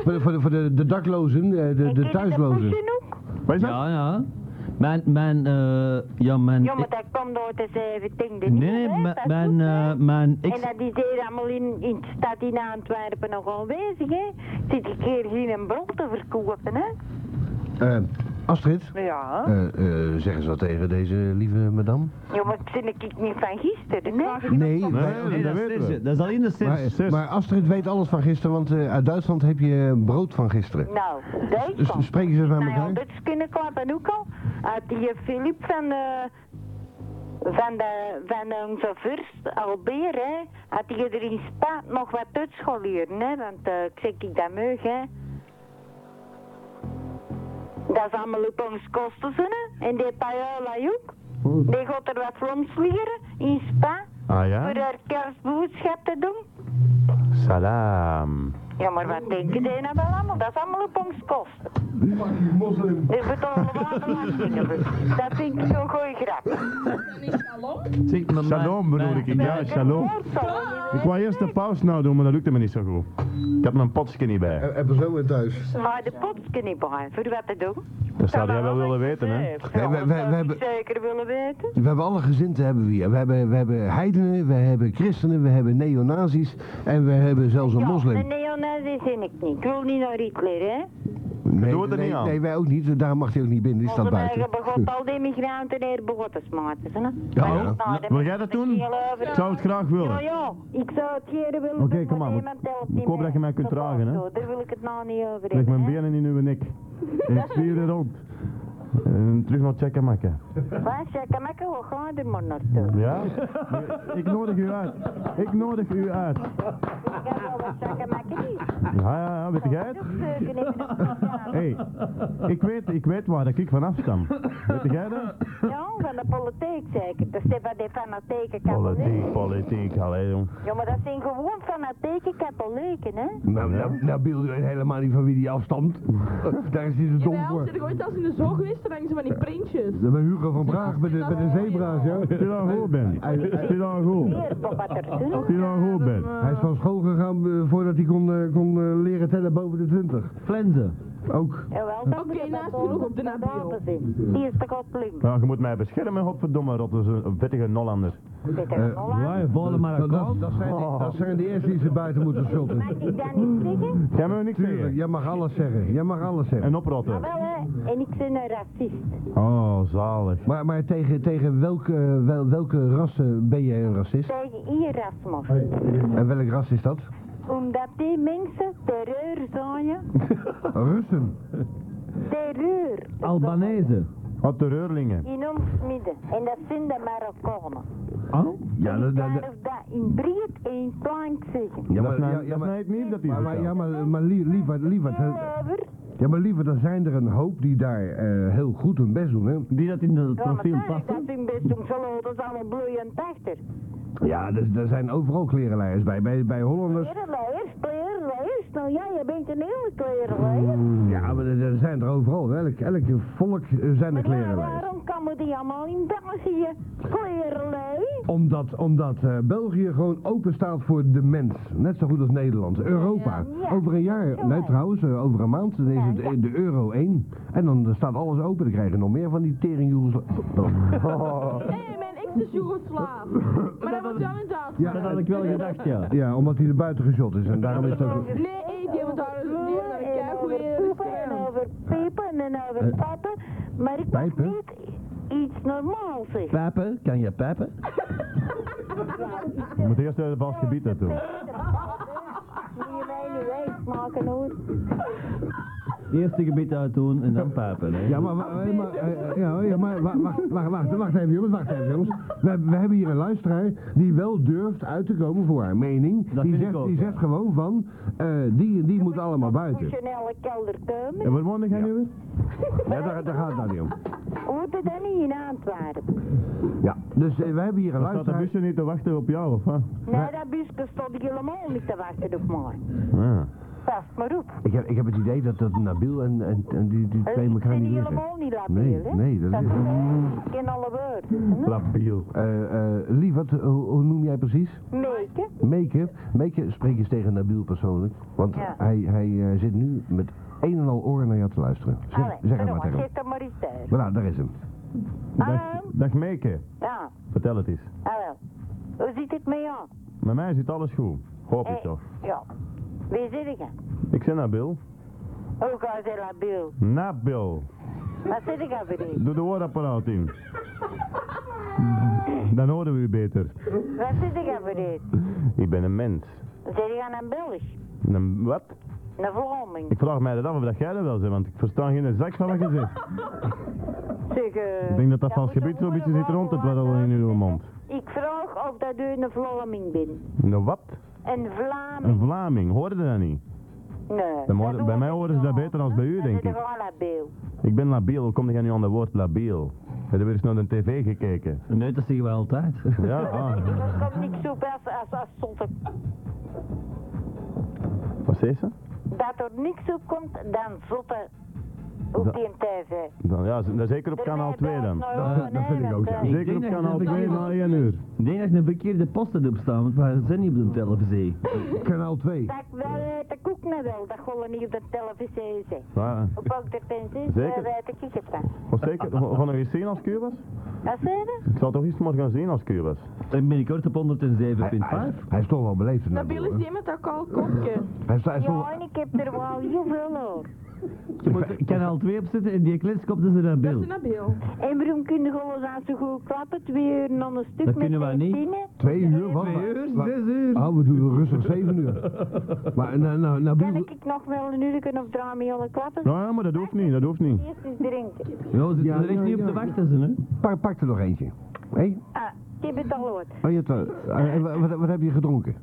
[SPEAKER 5] voor de, voor de, voor de, de daklozen, eh, de,
[SPEAKER 9] En
[SPEAKER 5] de
[SPEAKER 9] ken je
[SPEAKER 5] thuislozen.
[SPEAKER 9] poesje ook?
[SPEAKER 1] Wat is dat?
[SPEAKER 6] ja, ja. Mijn, mijn, eh, ja, mijn...
[SPEAKER 9] Ja, maar dat komt door de 17
[SPEAKER 6] Nee,
[SPEAKER 9] e
[SPEAKER 6] nee, mijn, mijn, eh, mijn
[SPEAKER 9] En
[SPEAKER 6] ex...
[SPEAKER 9] dat is hier allemaal in, in de stad in Antwerpen nog aanwezig, hè. Zit ik hier geen bron te verkopen, hè.
[SPEAKER 5] Eh, Astrid,
[SPEAKER 7] Ja.
[SPEAKER 5] eh, eh, zeg eens wat tegen deze lieve madame.
[SPEAKER 9] Ja, maar dat vind ik niet van gisteren, hè.
[SPEAKER 5] Nee,
[SPEAKER 1] Nee,
[SPEAKER 5] maar,
[SPEAKER 1] dat
[SPEAKER 6] dat,
[SPEAKER 1] weten
[SPEAKER 6] is
[SPEAKER 1] we.
[SPEAKER 6] Serge, dat is alleen de Serge.
[SPEAKER 5] maar,
[SPEAKER 9] eh,
[SPEAKER 5] maar Astrid weet alles van gisteren, want eh, uit Duitsland heb je eh, brood van gisteren.
[SPEAKER 9] Nou,
[SPEAKER 5] Dus
[SPEAKER 9] Duitsland.
[SPEAKER 5] spreken ze eens met
[SPEAKER 9] Nou ja,
[SPEAKER 5] elkaar?
[SPEAKER 9] dat is kunnen klappen ook al. Had die Filip van de... Van, de, van onze vorst, Albert, hè, had hij er in staat nog wat uitscholieren, hè, want eh, ik zeg ik dat meug, hè. Dat is allemaal op ons kosten, hè, en die Paola ook. Die gaat er wat rondslingeren in Spa,
[SPEAKER 1] Ah
[SPEAKER 9] voor
[SPEAKER 1] ja?
[SPEAKER 9] haar kerstboodschap te doen.
[SPEAKER 1] Salam.
[SPEAKER 9] Ja, maar wat denken die nou wel allemaal? Dat is allemaal op ons kosten. Ik betaal wel belastingen. voor. Dat vind ik zo'n goeie grap.
[SPEAKER 6] Zeg, maar mijn-
[SPEAKER 1] Shalom bedoel
[SPEAKER 6] mijn-
[SPEAKER 1] ik. Ja, shalom. Ik wou eerst de pauze nou doen, maar dat lukte me niet zo goed. Ik had mijn potje niet bij.
[SPEAKER 5] Hebben zo weer thuis.
[SPEAKER 9] Maar de potje niet bij, voor wat te doen.
[SPEAKER 1] Dat zou jij wel willen weten, hè?
[SPEAKER 5] we- we- we hebben-
[SPEAKER 9] zeker willen weten.
[SPEAKER 5] We hebben alle gezinten hebben we hier. We hebben, we hebben heidenen, we hebben christenen, we hebben neonazis en we hebben zelfs een moslim.
[SPEAKER 9] Ja, de neonazis vind ik niet. Ik wil niet naar Hitler, hè.
[SPEAKER 5] Nee,
[SPEAKER 1] Doe het er
[SPEAKER 5] nee,
[SPEAKER 1] niet aan.
[SPEAKER 5] nee, wij ook niet. Daar mag hij ook niet binnen, die staat
[SPEAKER 9] Onze
[SPEAKER 5] buiten.
[SPEAKER 9] eigen begot al die migranten hier begotten smaten, hè.
[SPEAKER 5] Ja.
[SPEAKER 9] Maar nou,
[SPEAKER 1] Wil jij dat doen?
[SPEAKER 9] heel over-
[SPEAKER 1] Ik zou het graag
[SPEAKER 9] Ja,
[SPEAKER 1] willen.
[SPEAKER 9] ja, ik zou het hier willen
[SPEAKER 1] Oké,
[SPEAKER 9] doen,
[SPEAKER 1] kom maar,
[SPEAKER 9] maar
[SPEAKER 1] maar
[SPEAKER 9] iemand helpt niet
[SPEAKER 1] ik hoop
[SPEAKER 9] mee.
[SPEAKER 1] dat je mij kunt
[SPEAKER 9] Dat
[SPEAKER 1] dragen, hè.
[SPEAKER 9] is zo, Daar wil ik het nou niet over
[SPEAKER 1] Leg
[SPEAKER 9] hebben,
[SPEAKER 1] mijn
[SPEAKER 9] hè.
[SPEAKER 1] benen in uw nek. Ik zwier er rond. En terug naar Tjekkemakken.
[SPEAKER 9] Waar zeg ik, maar ik wil gewoon er maar naartoe.
[SPEAKER 1] Ja? Ik nodig u uit. Ik nodig u uit.
[SPEAKER 9] Ik ga wel wat zeggen, maar ik niet.
[SPEAKER 1] Ja, ja, ja, weet jij het?
[SPEAKER 9] Zoeken in de-
[SPEAKER 1] Hé, ik, weet, ik weet waar dat ik vanaf stam. Weet jij dat?
[SPEAKER 9] Ja, van de politiek zeker. Dat zijn van die fanatieke
[SPEAKER 1] Politiek,
[SPEAKER 9] katholieken.
[SPEAKER 1] politiek, allee jong.
[SPEAKER 9] Ja, maar dat zijn gewoon fanatieke katholieken, hè?
[SPEAKER 5] Nou, nou, nou beeld u helemaal niet van wie die afstamt. Daar is hij te dom
[SPEAKER 4] Jawel,
[SPEAKER 5] voor.
[SPEAKER 4] zijn er ooit als in de zoo geweest, dan hangen ze van die printjes.
[SPEAKER 5] Dat bij Hugo van Braag met de, met de zebra's, ja.
[SPEAKER 1] Zie je dat goed ben? Zie je dat goed?
[SPEAKER 9] Hier, Bob Atterzoen.
[SPEAKER 1] Zie je dat goed ben?
[SPEAKER 5] Hij is van school gegaan eh, voordat hij kon, eh, kon eh, leren tellen boven de 20.
[SPEAKER 6] Flenzen.
[SPEAKER 5] Ook.
[SPEAKER 9] Jawel, dat
[SPEAKER 4] Oké,
[SPEAKER 9] moet
[SPEAKER 4] naast genoeg op de Nabil.
[SPEAKER 9] Hier is de godling.
[SPEAKER 1] Nou, je moet mij beschermen, godverdomme, dat is een vettige Nollander.
[SPEAKER 9] Zit
[SPEAKER 1] eh,
[SPEAKER 9] er nog wel aan?
[SPEAKER 6] Wij vallen maar
[SPEAKER 5] Dat, dat, dat zijn,
[SPEAKER 1] Oh.
[SPEAKER 5] dat zijn de eerste die ze buiten moeten schulden.
[SPEAKER 9] Mag ik dat niet zeggen?
[SPEAKER 1] Jij moet niks
[SPEAKER 5] Tuurlijk,
[SPEAKER 1] zeggen.
[SPEAKER 5] jij mag alles zeggen. Jij mag alles zeggen.
[SPEAKER 1] En oprotten.
[SPEAKER 9] Wel, hè? En ik ben een racist.
[SPEAKER 1] Oh, zalig.
[SPEAKER 5] Maar, maar tegen, tegen welke, eh, wel, welke rassen ben jij een racist?
[SPEAKER 9] Tegen Erasmus.
[SPEAKER 5] En welk ras is dat?
[SPEAKER 9] Omdat die mensen terreur zijn.
[SPEAKER 5] Russen.
[SPEAKER 9] Terreur.
[SPEAKER 6] Albanese.
[SPEAKER 1] Wat terreurlingen.
[SPEAKER 9] In ons midden. En dat zijn de Marokkanen.
[SPEAKER 6] Oh?
[SPEAKER 5] Ja, dat,
[SPEAKER 9] Ik
[SPEAKER 5] dat,
[SPEAKER 9] kan
[SPEAKER 5] dat-
[SPEAKER 9] of dat in breed en plank zeggen.
[SPEAKER 5] ja,
[SPEAKER 1] dat
[SPEAKER 5] maar,
[SPEAKER 1] is nou-
[SPEAKER 5] ja,
[SPEAKER 1] dat
[SPEAKER 5] ja,
[SPEAKER 1] is nou
[SPEAKER 5] maar,
[SPEAKER 1] het niet dat die
[SPEAKER 5] maar, maar, ja,
[SPEAKER 1] vertelt.
[SPEAKER 5] maar, maar lie- liever, liever, hè.
[SPEAKER 9] Lever.
[SPEAKER 5] ja, maar liever, dan zijn er een hoop die daar eh, heel goed hun best doen, hè.
[SPEAKER 6] Die dat in het
[SPEAKER 9] Ja, maar
[SPEAKER 6] profiel
[SPEAKER 9] dat
[SPEAKER 6] past.
[SPEAKER 9] is een best om zo dat is allemaal bloeiend achter.
[SPEAKER 5] Ja, dus, er zijn overal klerenleiders bij. Bij, bij Hollanders.
[SPEAKER 9] Klerenleiders, klerenleiders, nou ja, je bent een hele
[SPEAKER 5] Mm,
[SPEAKER 9] klerenleider.
[SPEAKER 5] Ja, maar er er zijn er overal. Elk, elk volk eh, zijn er
[SPEAKER 9] Maar ja,
[SPEAKER 5] klerenleiders.
[SPEAKER 9] waarom komen die allemaal in België? Klerenlei?
[SPEAKER 5] Omdat, omdat eh, België gewoon open staat voor de mens. Net zo goed als Nederland. Europa.
[SPEAKER 9] Ja.
[SPEAKER 5] Over een jaar, nee trouwens, eh, over een maand, dan is het eh, de euro 1. En dan eh, staat alles open. Dan krijgen we nog meer van die teringjoegels.
[SPEAKER 4] Hé, mijn ex is Joegoslaaf. Maar dat was wel in Duitsland.
[SPEAKER 5] Ja,
[SPEAKER 6] Dat had ik wel gedacht, ja.
[SPEAKER 5] Ja, omdat hij er buiten geschot is. En daarom is het ook...
[SPEAKER 4] Nee, hey, die hebben daar een die hebben daar een
[SPEAKER 9] En
[SPEAKER 4] keigoeie
[SPEAKER 9] over poepen en
[SPEAKER 4] stem.
[SPEAKER 9] over pijpen en over pappen. Maar ik mag
[SPEAKER 5] Eh, pijpen?
[SPEAKER 9] niet iets normaals zeggen.
[SPEAKER 6] Pijpen, kan je pijpen?
[SPEAKER 1] Je moet eerst uit het vast gebied naartoe.
[SPEAKER 9] Moet je mij nu wijs maken hoor.
[SPEAKER 6] Eerst een gebit uitdoen en dan pijpen. Hè.
[SPEAKER 5] Ja, maar, wa- eh, maar, eh, ja, ja, maar wa- wacht, wacht, wacht, wacht even jongens, wacht even jongens. We, we hebben hier een luisteraar die wel durft uit te komen voor haar mening. die
[SPEAKER 6] vind ik
[SPEAKER 5] zegt,
[SPEAKER 6] ook,
[SPEAKER 5] die
[SPEAKER 6] ja.
[SPEAKER 5] zegt gewoon van, eh, die en die moet allemaal buiten.
[SPEAKER 9] Moest je in elke kelder komen?
[SPEAKER 5] En waar woon jij nu Ja, daar, daar gaat het nou niet om.
[SPEAKER 9] Hoorde dat niet in Antwerpen?
[SPEAKER 5] Ja, dus eh, we hebben hier een
[SPEAKER 1] Dan staat de
[SPEAKER 5] luisteraar.
[SPEAKER 1] busje niet te wachten op jou, of wat?
[SPEAKER 9] Nee, dat busje stond helemaal niet te wachten op mij.
[SPEAKER 5] Ja.
[SPEAKER 9] Pas maar op.
[SPEAKER 5] Ik, heb, ik heb het idee dat, dat Nabil en, en, en die, die
[SPEAKER 9] Eh,
[SPEAKER 5] twee
[SPEAKER 9] Ik
[SPEAKER 5] elkaar
[SPEAKER 9] ben
[SPEAKER 5] niet meer zijn.
[SPEAKER 9] helemaal niet labiel,
[SPEAKER 5] Nee,
[SPEAKER 9] hè?
[SPEAKER 5] nee, dat
[SPEAKER 9] Dat
[SPEAKER 5] is... Hm.
[SPEAKER 9] Ik ken alle woorden. hè?
[SPEAKER 5] Labiel. Eh eh lieverd, hoe, hoe noem jij precies?
[SPEAKER 9] Hm? Meeke.
[SPEAKER 5] Meeke, Meeke, spreek eens tegen Nabil persoonlijk. Want
[SPEAKER 9] Ja.
[SPEAKER 5] hij, hij eh, zit nu met een en al oren naar jou te luisteren. Zeg,
[SPEAKER 9] Allee,
[SPEAKER 5] zeg het
[SPEAKER 9] verdomme,
[SPEAKER 5] maar tegen hem.
[SPEAKER 9] zet dat maar eens thuis.
[SPEAKER 5] Voilà, nou, daar is hem.
[SPEAKER 9] Ah,
[SPEAKER 1] Dag Meeke,
[SPEAKER 9] ja,
[SPEAKER 1] vertel het eens.
[SPEAKER 9] ah wel. Hoe ziet het mee aan?
[SPEAKER 1] Met mij zit alles goed. Hoop
[SPEAKER 9] Hey,
[SPEAKER 5] Eh.
[SPEAKER 1] ik toch.
[SPEAKER 9] Ja. Wie zit ik?
[SPEAKER 1] Ik ben Nabil.
[SPEAKER 9] Hoe gaat het labiel?
[SPEAKER 1] Nabil.
[SPEAKER 9] Wat zit ik aan beneden?
[SPEAKER 1] Doe de woordapparaat in. Dan horen we u beter.
[SPEAKER 9] Wat zit ik aan beneden?
[SPEAKER 1] Ik ben een mens.
[SPEAKER 9] Zit ik aan een Belg?
[SPEAKER 1] Een wat?
[SPEAKER 9] Een Vlaming?
[SPEAKER 1] Ik vraag mij dat af of dat jij dat wel zegt, want ik versta geen zak van wat je zegt.
[SPEAKER 9] Zeg, eh,
[SPEAKER 1] Ik denk dat dat
[SPEAKER 9] ja,
[SPEAKER 1] vals
[SPEAKER 9] moet
[SPEAKER 1] gebied
[SPEAKER 9] je
[SPEAKER 1] zo'n beetje zit
[SPEAKER 9] horen
[SPEAKER 1] rond te
[SPEAKER 9] wat er
[SPEAKER 1] dwarrelen in uw mond.
[SPEAKER 9] Ik vraag of dat u een Vlaming bent.
[SPEAKER 1] Een wat?
[SPEAKER 9] Een Vlaming.
[SPEAKER 1] Een Vlaming, hoorde dat niet?
[SPEAKER 9] Nee.
[SPEAKER 1] Dan horen- bij
[SPEAKER 9] dat hoort
[SPEAKER 1] mij
[SPEAKER 9] niet
[SPEAKER 1] horen ze dat
[SPEAKER 9] aan,
[SPEAKER 1] beter dan
[SPEAKER 9] hè?
[SPEAKER 1] bij u, denk
[SPEAKER 9] Dat
[SPEAKER 1] ik.
[SPEAKER 9] is gewoon labiel.
[SPEAKER 1] Ik ben labiel, hoe kom jij nu aan dat woord labiel? Heb je weer eens naar de tv gekeken?
[SPEAKER 6] Nee, dat zeggen we altijd.
[SPEAKER 1] Ja, ah.
[SPEAKER 9] Er komt niks op als, als, als zonder
[SPEAKER 1] Wat zei ze?
[SPEAKER 9] dat er niks op komt, dan zotten
[SPEAKER 1] Da-
[SPEAKER 9] op die tv.
[SPEAKER 1] Dan, ja, ze- dan zeker op kanaal 2 dan.
[SPEAKER 9] dat vind nou ik ook,
[SPEAKER 1] Zeker op kanaal 2 na 1 uur.
[SPEAKER 6] Ik denk dat ik een verkeerde post heb staan, want wij zijn niet op de televisie.
[SPEAKER 5] Kanaal 2.
[SPEAKER 9] Dat ik wel uit de koek naar wel, dat gewoon niet op de televisie zijn.
[SPEAKER 1] Ja,
[SPEAKER 9] Op ook de pensioen,
[SPEAKER 1] Zeker.
[SPEAKER 9] daar weet ik het van.
[SPEAKER 1] was zeker, ga ga nog eens zien als Cubas?
[SPEAKER 9] Wat zei je?
[SPEAKER 1] Ik zal toch eens maar gaan zien als Cubas.
[SPEAKER 6] En binnenkort op 107.5.
[SPEAKER 5] Hij is toch wel beleefd, hè,
[SPEAKER 4] Nabil
[SPEAKER 5] Nabil.
[SPEAKER 4] is
[SPEAKER 5] hè?
[SPEAKER 4] die met dat kaal kopje.
[SPEAKER 5] Hij is, hij is toch...
[SPEAKER 9] Ja, en ik heb er wel heel veel hoor.
[SPEAKER 6] Je moet kanaal 2 opzetten en die kletskop is er aan
[SPEAKER 4] Dat is
[SPEAKER 6] beeld.
[SPEAKER 4] Nabil.
[SPEAKER 9] En waarom kunnen gewoon aan zo goed klappen? Twee uur en dan een
[SPEAKER 6] Dat
[SPEAKER 9] stuk met Eh,
[SPEAKER 6] kunnen wij niet.
[SPEAKER 9] zestienen?
[SPEAKER 5] Twee uur, wat?
[SPEAKER 6] Twee uur,
[SPEAKER 5] Wat-
[SPEAKER 6] zes uur.
[SPEAKER 5] Oh, we doen rustig zeven uur. Maar nou, nou,
[SPEAKER 9] Kan
[SPEAKER 5] Nabil...
[SPEAKER 9] ik nog wel een uur of drie miljoen klappen?
[SPEAKER 1] Nou ja, maar dat hoeft niet, dat hoeft niet.
[SPEAKER 9] Eerst eens drinken.
[SPEAKER 6] Ja, we Nou, zitten
[SPEAKER 5] Ja,
[SPEAKER 6] er echt
[SPEAKER 5] ja,
[SPEAKER 6] niet op
[SPEAKER 5] ja.
[SPEAKER 6] te wachten, ze, hè?
[SPEAKER 5] Pak, pak er nog eentje. Hé?
[SPEAKER 9] Ah, ik heb het al gehoord.
[SPEAKER 5] Oh, je hebt, eh, eh, wat, wat heb je gedronken?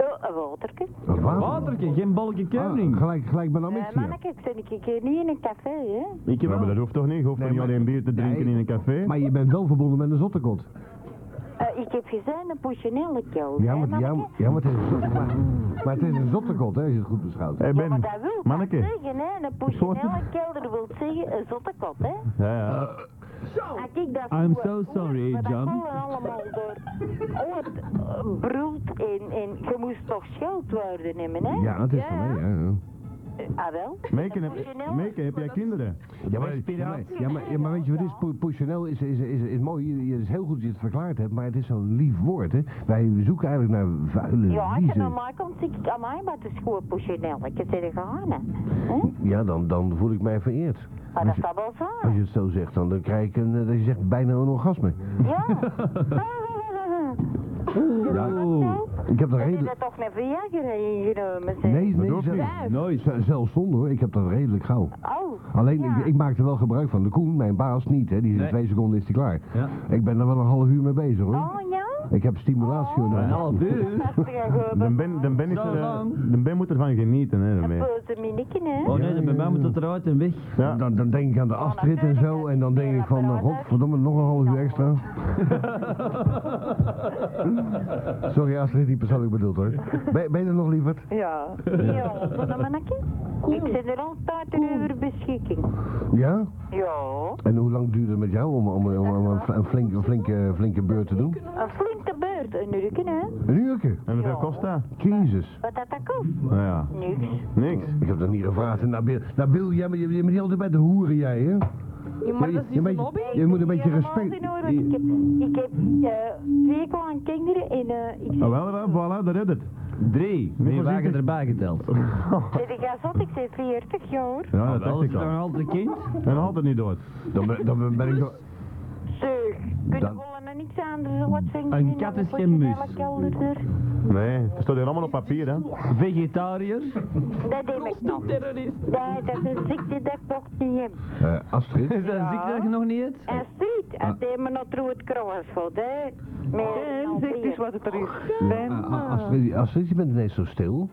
[SPEAKER 9] Oh, een waterke.
[SPEAKER 5] Wat?
[SPEAKER 6] Waterke, geen balkje keuning.
[SPEAKER 5] Ah, gelijk, gelijk bij
[SPEAKER 9] Eh,
[SPEAKER 5] Amixia.
[SPEAKER 9] manneke, ik zit een keer niet in een café, hè.
[SPEAKER 6] Ik heb
[SPEAKER 1] Ja, maar dat hoeft toch niet? Je hoeft
[SPEAKER 5] Nee,
[SPEAKER 1] toch niet
[SPEAKER 5] maar-
[SPEAKER 1] alleen bier te drinken
[SPEAKER 5] Nee.
[SPEAKER 1] in een café?
[SPEAKER 5] Maar je bent wel verbonden met een zottekot.
[SPEAKER 9] Eh, ik heb gezien een poesjonelle kelder,
[SPEAKER 5] Ja,
[SPEAKER 9] hè,
[SPEAKER 5] maar, ja,
[SPEAKER 9] manneke?
[SPEAKER 5] ja, maar het is een zot- maar, maar het is een zottekot, hè, als je het goed beschouwt.
[SPEAKER 1] Hey
[SPEAKER 9] Ja, maar
[SPEAKER 1] Ben,
[SPEAKER 9] dat wil dat
[SPEAKER 1] manneke.
[SPEAKER 9] zeggen, hè. Een poesjonelle kelder wil zeggen een zotte kop, hè.
[SPEAKER 1] Ja, ja.
[SPEAKER 9] Ah, kijk, dat
[SPEAKER 6] I'm
[SPEAKER 9] voer-
[SPEAKER 6] so
[SPEAKER 9] voer,
[SPEAKER 6] sorry,
[SPEAKER 9] maar
[SPEAKER 6] John.
[SPEAKER 9] Dat vallen allemaal door oort eh, broelt en, en je moest toch geld worden nemen, hè?
[SPEAKER 5] Ja, het is
[SPEAKER 4] Ja,
[SPEAKER 5] van
[SPEAKER 4] ja.
[SPEAKER 5] mij, ja, ja.
[SPEAKER 9] Eh, ah, wel.
[SPEAKER 1] Meeke,
[SPEAKER 9] Een
[SPEAKER 1] heb,
[SPEAKER 9] poesjonelle-
[SPEAKER 1] Meeke, heb jij kinderen?
[SPEAKER 5] Ja, maar, ja, maar, ja, maar, ja, maar weet je wat het is? Po- Positioneel is, is, is, is mooi. Je- Het is heel goed dat je het verklaard hebt, maar het is zo'n lief woord, hè. Wij zoeken eigenlijk naar vuile
[SPEAKER 9] Ja, als je naar
[SPEAKER 5] liezen.
[SPEAKER 9] mij komt, zie ik aan mij, maar het is gewoon poesjonelle. Ik heb ze gegaan, hè.
[SPEAKER 5] Ja, dan, dan voel ik mij vereerd. Als
[SPEAKER 9] Maar dat
[SPEAKER 5] je,
[SPEAKER 9] zou wel zijn.
[SPEAKER 5] als je het zo zegt, dan, dan krijg ik een, eh, dat je zegt bijna een orgasme.
[SPEAKER 9] Ja.
[SPEAKER 6] Oh,
[SPEAKER 5] Ik heb er
[SPEAKER 9] Hm? Heb je
[SPEAKER 5] redelijk...
[SPEAKER 9] dat eh, toch naar Viagra ingenomen? zeg?
[SPEAKER 5] Nee, nee,
[SPEAKER 1] hoeft
[SPEAKER 5] zelf-
[SPEAKER 1] niet.
[SPEAKER 6] nooit.
[SPEAKER 5] Z- Zelfs zonder hoor, ik heb dat redelijk gauw.
[SPEAKER 9] Oh.
[SPEAKER 5] Alleen,
[SPEAKER 9] ja.
[SPEAKER 5] ik, ik maak er wel gebruik van. De Koen, mijn baas niet, hè. Die is in
[SPEAKER 6] Nee.
[SPEAKER 5] twee seconden is die klaar.
[SPEAKER 6] Ja.
[SPEAKER 5] Ik ben er wel een half uur mee bezig, hoor.
[SPEAKER 9] Oh, ja?
[SPEAKER 5] Ik heb stimulatie
[SPEAKER 9] Oh.
[SPEAKER 6] Een
[SPEAKER 5] nodig.
[SPEAKER 6] half uur.
[SPEAKER 9] Dat is een
[SPEAKER 1] De
[SPEAKER 9] goede
[SPEAKER 1] ben, de ben, is er, eh,
[SPEAKER 6] Daarvan.
[SPEAKER 1] de ben moet ervan genieten, hè, daarmee.
[SPEAKER 9] boze minneken, hè?
[SPEAKER 6] Oh nee, dan bij mij moet het eruit en weg.
[SPEAKER 1] Ja.
[SPEAKER 5] Dan, dan denk ik aan de afrit en zo. En dan denk ik van, nou, godverdomme, nog een half uur extra. Sorry, Astrid, die persoonlijk bedoeld, hoor. Ben, ben je er nog, lieverd?
[SPEAKER 7] Ja.
[SPEAKER 9] Ja, van een mannetje. Ik zit er altijd een uur beschikking.
[SPEAKER 5] Ja?
[SPEAKER 9] Ja.
[SPEAKER 5] En hoe lang duurde het met jou om, om, om, om een fl- een flinke, flinke, flinke beurt te doen?
[SPEAKER 9] Een flinke beurt, een uurken, hè?
[SPEAKER 5] Een uurtje?
[SPEAKER 1] En hoeveel kost dat?
[SPEAKER 5] Jezus.
[SPEAKER 9] Wat dat dat kost?
[SPEAKER 1] Nou ja,
[SPEAKER 9] Niks.
[SPEAKER 1] niks. Nou,
[SPEAKER 5] Ik heb dat niet gevraagd. En Nabil, Nabil jij, bent- je, je bent altijd bij de hoeren, jij, hè?
[SPEAKER 4] Ja, maar dat is
[SPEAKER 5] je,
[SPEAKER 4] niet een
[SPEAKER 5] bent-
[SPEAKER 4] hobby.
[SPEAKER 5] je moet een beetje
[SPEAKER 9] Helemaal
[SPEAKER 5] respect...
[SPEAKER 9] geen oren. Ik heb, ik heb eh, twee kleine kinderen en eh, ik
[SPEAKER 1] Ah, wel, wel, voilà, dat redt het.
[SPEAKER 6] Drie. Nee, wagen erbij geteld.
[SPEAKER 9] zit ik aan zot, ik zit 40 jaar.
[SPEAKER 1] Ja, dat
[SPEAKER 6] Dat is
[SPEAKER 1] dacht ik
[SPEAKER 6] dan
[SPEAKER 1] al.
[SPEAKER 6] altijd kind.
[SPEAKER 1] En altijd niet dood.
[SPEAKER 5] Dan ben, dan ben ik nog...
[SPEAKER 9] Zeg, kun je
[SPEAKER 1] Dan-
[SPEAKER 9] gewoon aan nou niks anders wat zeggen?
[SPEAKER 6] Een kat is geen mus.
[SPEAKER 1] Nee, het staat hier allemaal op papier, hè.
[SPEAKER 6] Vegetariër?
[SPEAKER 9] Dat deed ik nog.
[SPEAKER 4] Terrorist.
[SPEAKER 9] Nee, dat is een ziekte dat ik nog niet heb.
[SPEAKER 5] Eh, Astrid?
[SPEAKER 6] Is dat een ziekte dat je nog niet eet?
[SPEAKER 9] En ziet, dat deed me nog door het kruisveld, hè. Nee,
[SPEAKER 7] zeg
[SPEAKER 10] dus
[SPEAKER 7] eens wat het er is.
[SPEAKER 5] Ah,
[SPEAKER 7] Mijn,
[SPEAKER 5] ah, Astrid, Astrid, je bent ineens zo stil.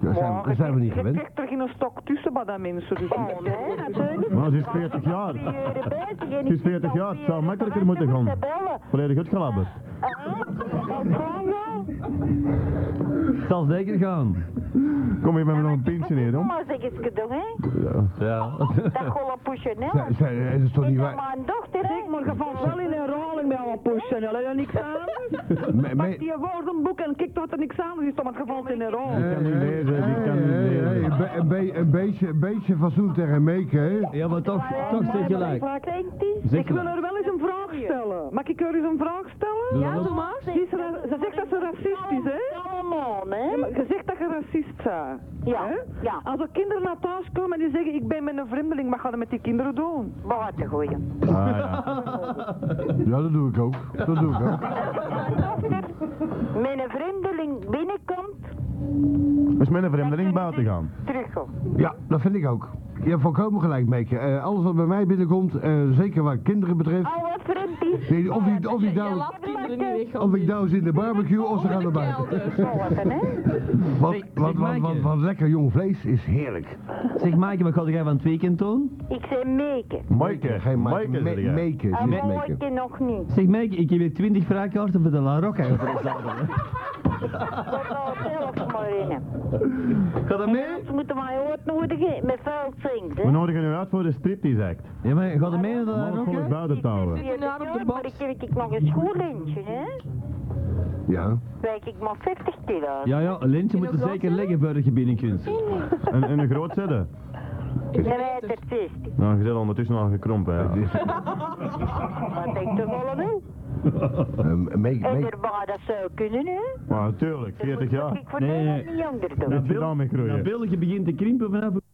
[SPEAKER 5] Daar zijn, daar zijn we niet
[SPEAKER 7] Je
[SPEAKER 5] gewend.
[SPEAKER 7] krijgt er geen stok tussen, maar dat mensen. Dus.
[SPEAKER 9] Oh, nee, natuurlijk.
[SPEAKER 1] Maar ze is 40 jaar.
[SPEAKER 9] eh,
[SPEAKER 1] Ze is 40 jaar, het zou makkelijker moeten gaan. Volledig uitgelabberd.
[SPEAKER 6] Zal zeker gaan.
[SPEAKER 1] Kom hier met me nog een pintje neer,
[SPEAKER 9] Kom
[SPEAKER 1] hoor.
[SPEAKER 5] Eh,
[SPEAKER 9] maar zeg eens cadeau, hè.
[SPEAKER 6] Ja.
[SPEAKER 9] Dat golfpoesje, hè.
[SPEAKER 5] Zij- zij- Is het toch niet
[SPEAKER 9] Ik heb
[SPEAKER 5] waar?
[SPEAKER 9] mijn dochter, hè.
[SPEAKER 10] Maar je valt wel in herhaling met alle pushen, hè? Dat is niks aan. Pak
[SPEAKER 5] Me- me-
[SPEAKER 10] die woordenboek en kijk wat er niks aan is, want je valt in herhaling.
[SPEAKER 1] kan
[SPEAKER 5] eh,
[SPEAKER 1] niet lezen, die kan niet
[SPEAKER 5] Hey, hey,
[SPEAKER 1] lezen.
[SPEAKER 5] hey, Een, be- een be- een beetje, een beetje fatsoen tegen Meeke, hè?
[SPEAKER 6] Ja, maar toch, toch zeg gelijk. Zeg
[SPEAKER 10] Ik wil
[SPEAKER 6] gelijk.
[SPEAKER 10] haar wel eens een vraag stellen. Mag ik haar eens een vraag stellen?
[SPEAKER 6] Doe dat
[SPEAKER 4] Doe
[SPEAKER 6] op.
[SPEAKER 4] maar.
[SPEAKER 10] Ze, is ra- ze zegt dat ze racistisch is, hè?
[SPEAKER 9] Allemaal, hè.
[SPEAKER 10] Ja, maar je zegt dat je racist bent.
[SPEAKER 9] Ja,
[SPEAKER 10] hè?
[SPEAKER 9] ja.
[SPEAKER 10] Als er kinderen naar thuis komen en die zeggen, ik ben met een vreemdeling, wat gaan we met die kinderen doen?
[SPEAKER 9] Buiten gooien.
[SPEAKER 1] Ah, ja.
[SPEAKER 5] Ja, dat doe ik ook. Dat doe ik ook.
[SPEAKER 9] Mijn dochter met een vreemdeling binnenkomt,
[SPEAKER 1] Dus met een vreemdeling buiten gaan.
[SPEAKER 9] terugkomt.
[SPEAKER 5] Ja, dat vind ik ook. Je hebt volkomen gelijk, Meeke. Eh, alles wat bij mij binnenkomt, eh, zeker wat kinderen betreft.
[SPEAKER 9] Alle vreemd is.
[SPEAKER 5] Nee, of, die, of, die
[SPEAKER 4] Je
[SPEAKER 5] nou,
[SPEAKER 4] laat kinderen niet weg.
[SPEAKER 5] of ik nou eens in de barbecue
[SPEAKER 4] Oh,
[SPEAKER 5] of ze gaan naar buiten.
[SPEAKER 9] Buiten, hè.
[SPEAKER 5] Want,
[SPEAKER 6] Zeg- zeg,
[SPEAKER 5] want, want, want,
[SPEAKER 6] Maaike.
[SPEAKER 5] want lekker jong vlees is heerlijk.
[SPEAKER 6] Zeg Maaike, wat ga jij van het weekend doen?
[SPEAKER 9] Ik zei meken.
[SPEAKER 1] Maaike,
[SPEAKER 5] Geen Maaike,
[SPEAKER 1] Maaike, zeg
[SPEAKER 5] Me-
[SPEAKER 1] jij.
[SPEAKER 5] Meeke.
[SPEAKER 9] Ah,
[SPEAKER 5] dit is
[SPEAKER 9] maar
[SPEAKER 5] Meeke.
[SPEAKER 9] ik nog niet.
[SPEAKER 6] Zeg Maaike, ik heb hier 20 vraagkaarten voor de La Rocca.
[SPEAKER 9] Dat gaat zelf maar in.
[SPEAKER 6] Ga dat mee?
[SPEAKER 9] Ze moeten mij uitnodigen met vuil zinkt,
[SPEAKER 1] We
[SPEAKER 9] hè.
[SPEAKER 1] nodigen u uit voor de striptease act.
[SPEAKER 6] Ja, maar ga dat mee naar de La
[SPEAKER 1] Morgen kom ik
[SPEAKER 6] Rocca?
[SPEAKER 1] buiten te houden.
[SPEAKER 9] Ja,
[SPEAKER 4] Naar op de
[SPEAKER 9] maar
[SPEAKER 4] box.
[SPEAKER 9] ik heb ik nog een schoolentje, hè.
[SPEAKER 5] Ja.
[SPEAKER 9] Wijk ik maar 50 kilo.
[SPEAKER 6] Ja, ja, een lintje
[SPEAKER 4] Kun je
[SPEAKER 6] moet er
[SPEAKER 4] nog
[SPEAKER 6] zeker
[SPEAKER 4] wat
[SPEAKER 6] leggen voordat je binnen kunt.
[SPEAKER 1] En, en een groot zetten.
[SPEAKER 9] Ik rijd er 60.
[SPEAKER 1] Nou, je zit ondertussen al gekrompen,
[SPEAKER 5] Het
[SPEAKER 1] ja.
[SPEAKER 5] is-
[SPEAKER 9] Wat ik toch allemaal?
[SPEAKER 5] eh, Meeke-
[SPEAKER 9] En
[SPEAKER 5] Meeke-
[SPEAKER 9] erbij, dat zou kunnen, hè.
[SPEAKER 1] Maar natuurlijk, 40
[SPEAKER 9] Dat
[SPEAKER 1] jaar.
[SPEAKER 9] moet ik voor
[SPEAKER 6] Nee,
[SPEAKER 9] mij
[SPEAKER 6] nee.
[SPEAKER 9] niet jonger doen.
[SPEAKER 1] Dat je daarmee
[SPEAKER 6] Dat
[SPEAKER 1] groeien.
[SPEAKER 6] België begint te krimpen vanaf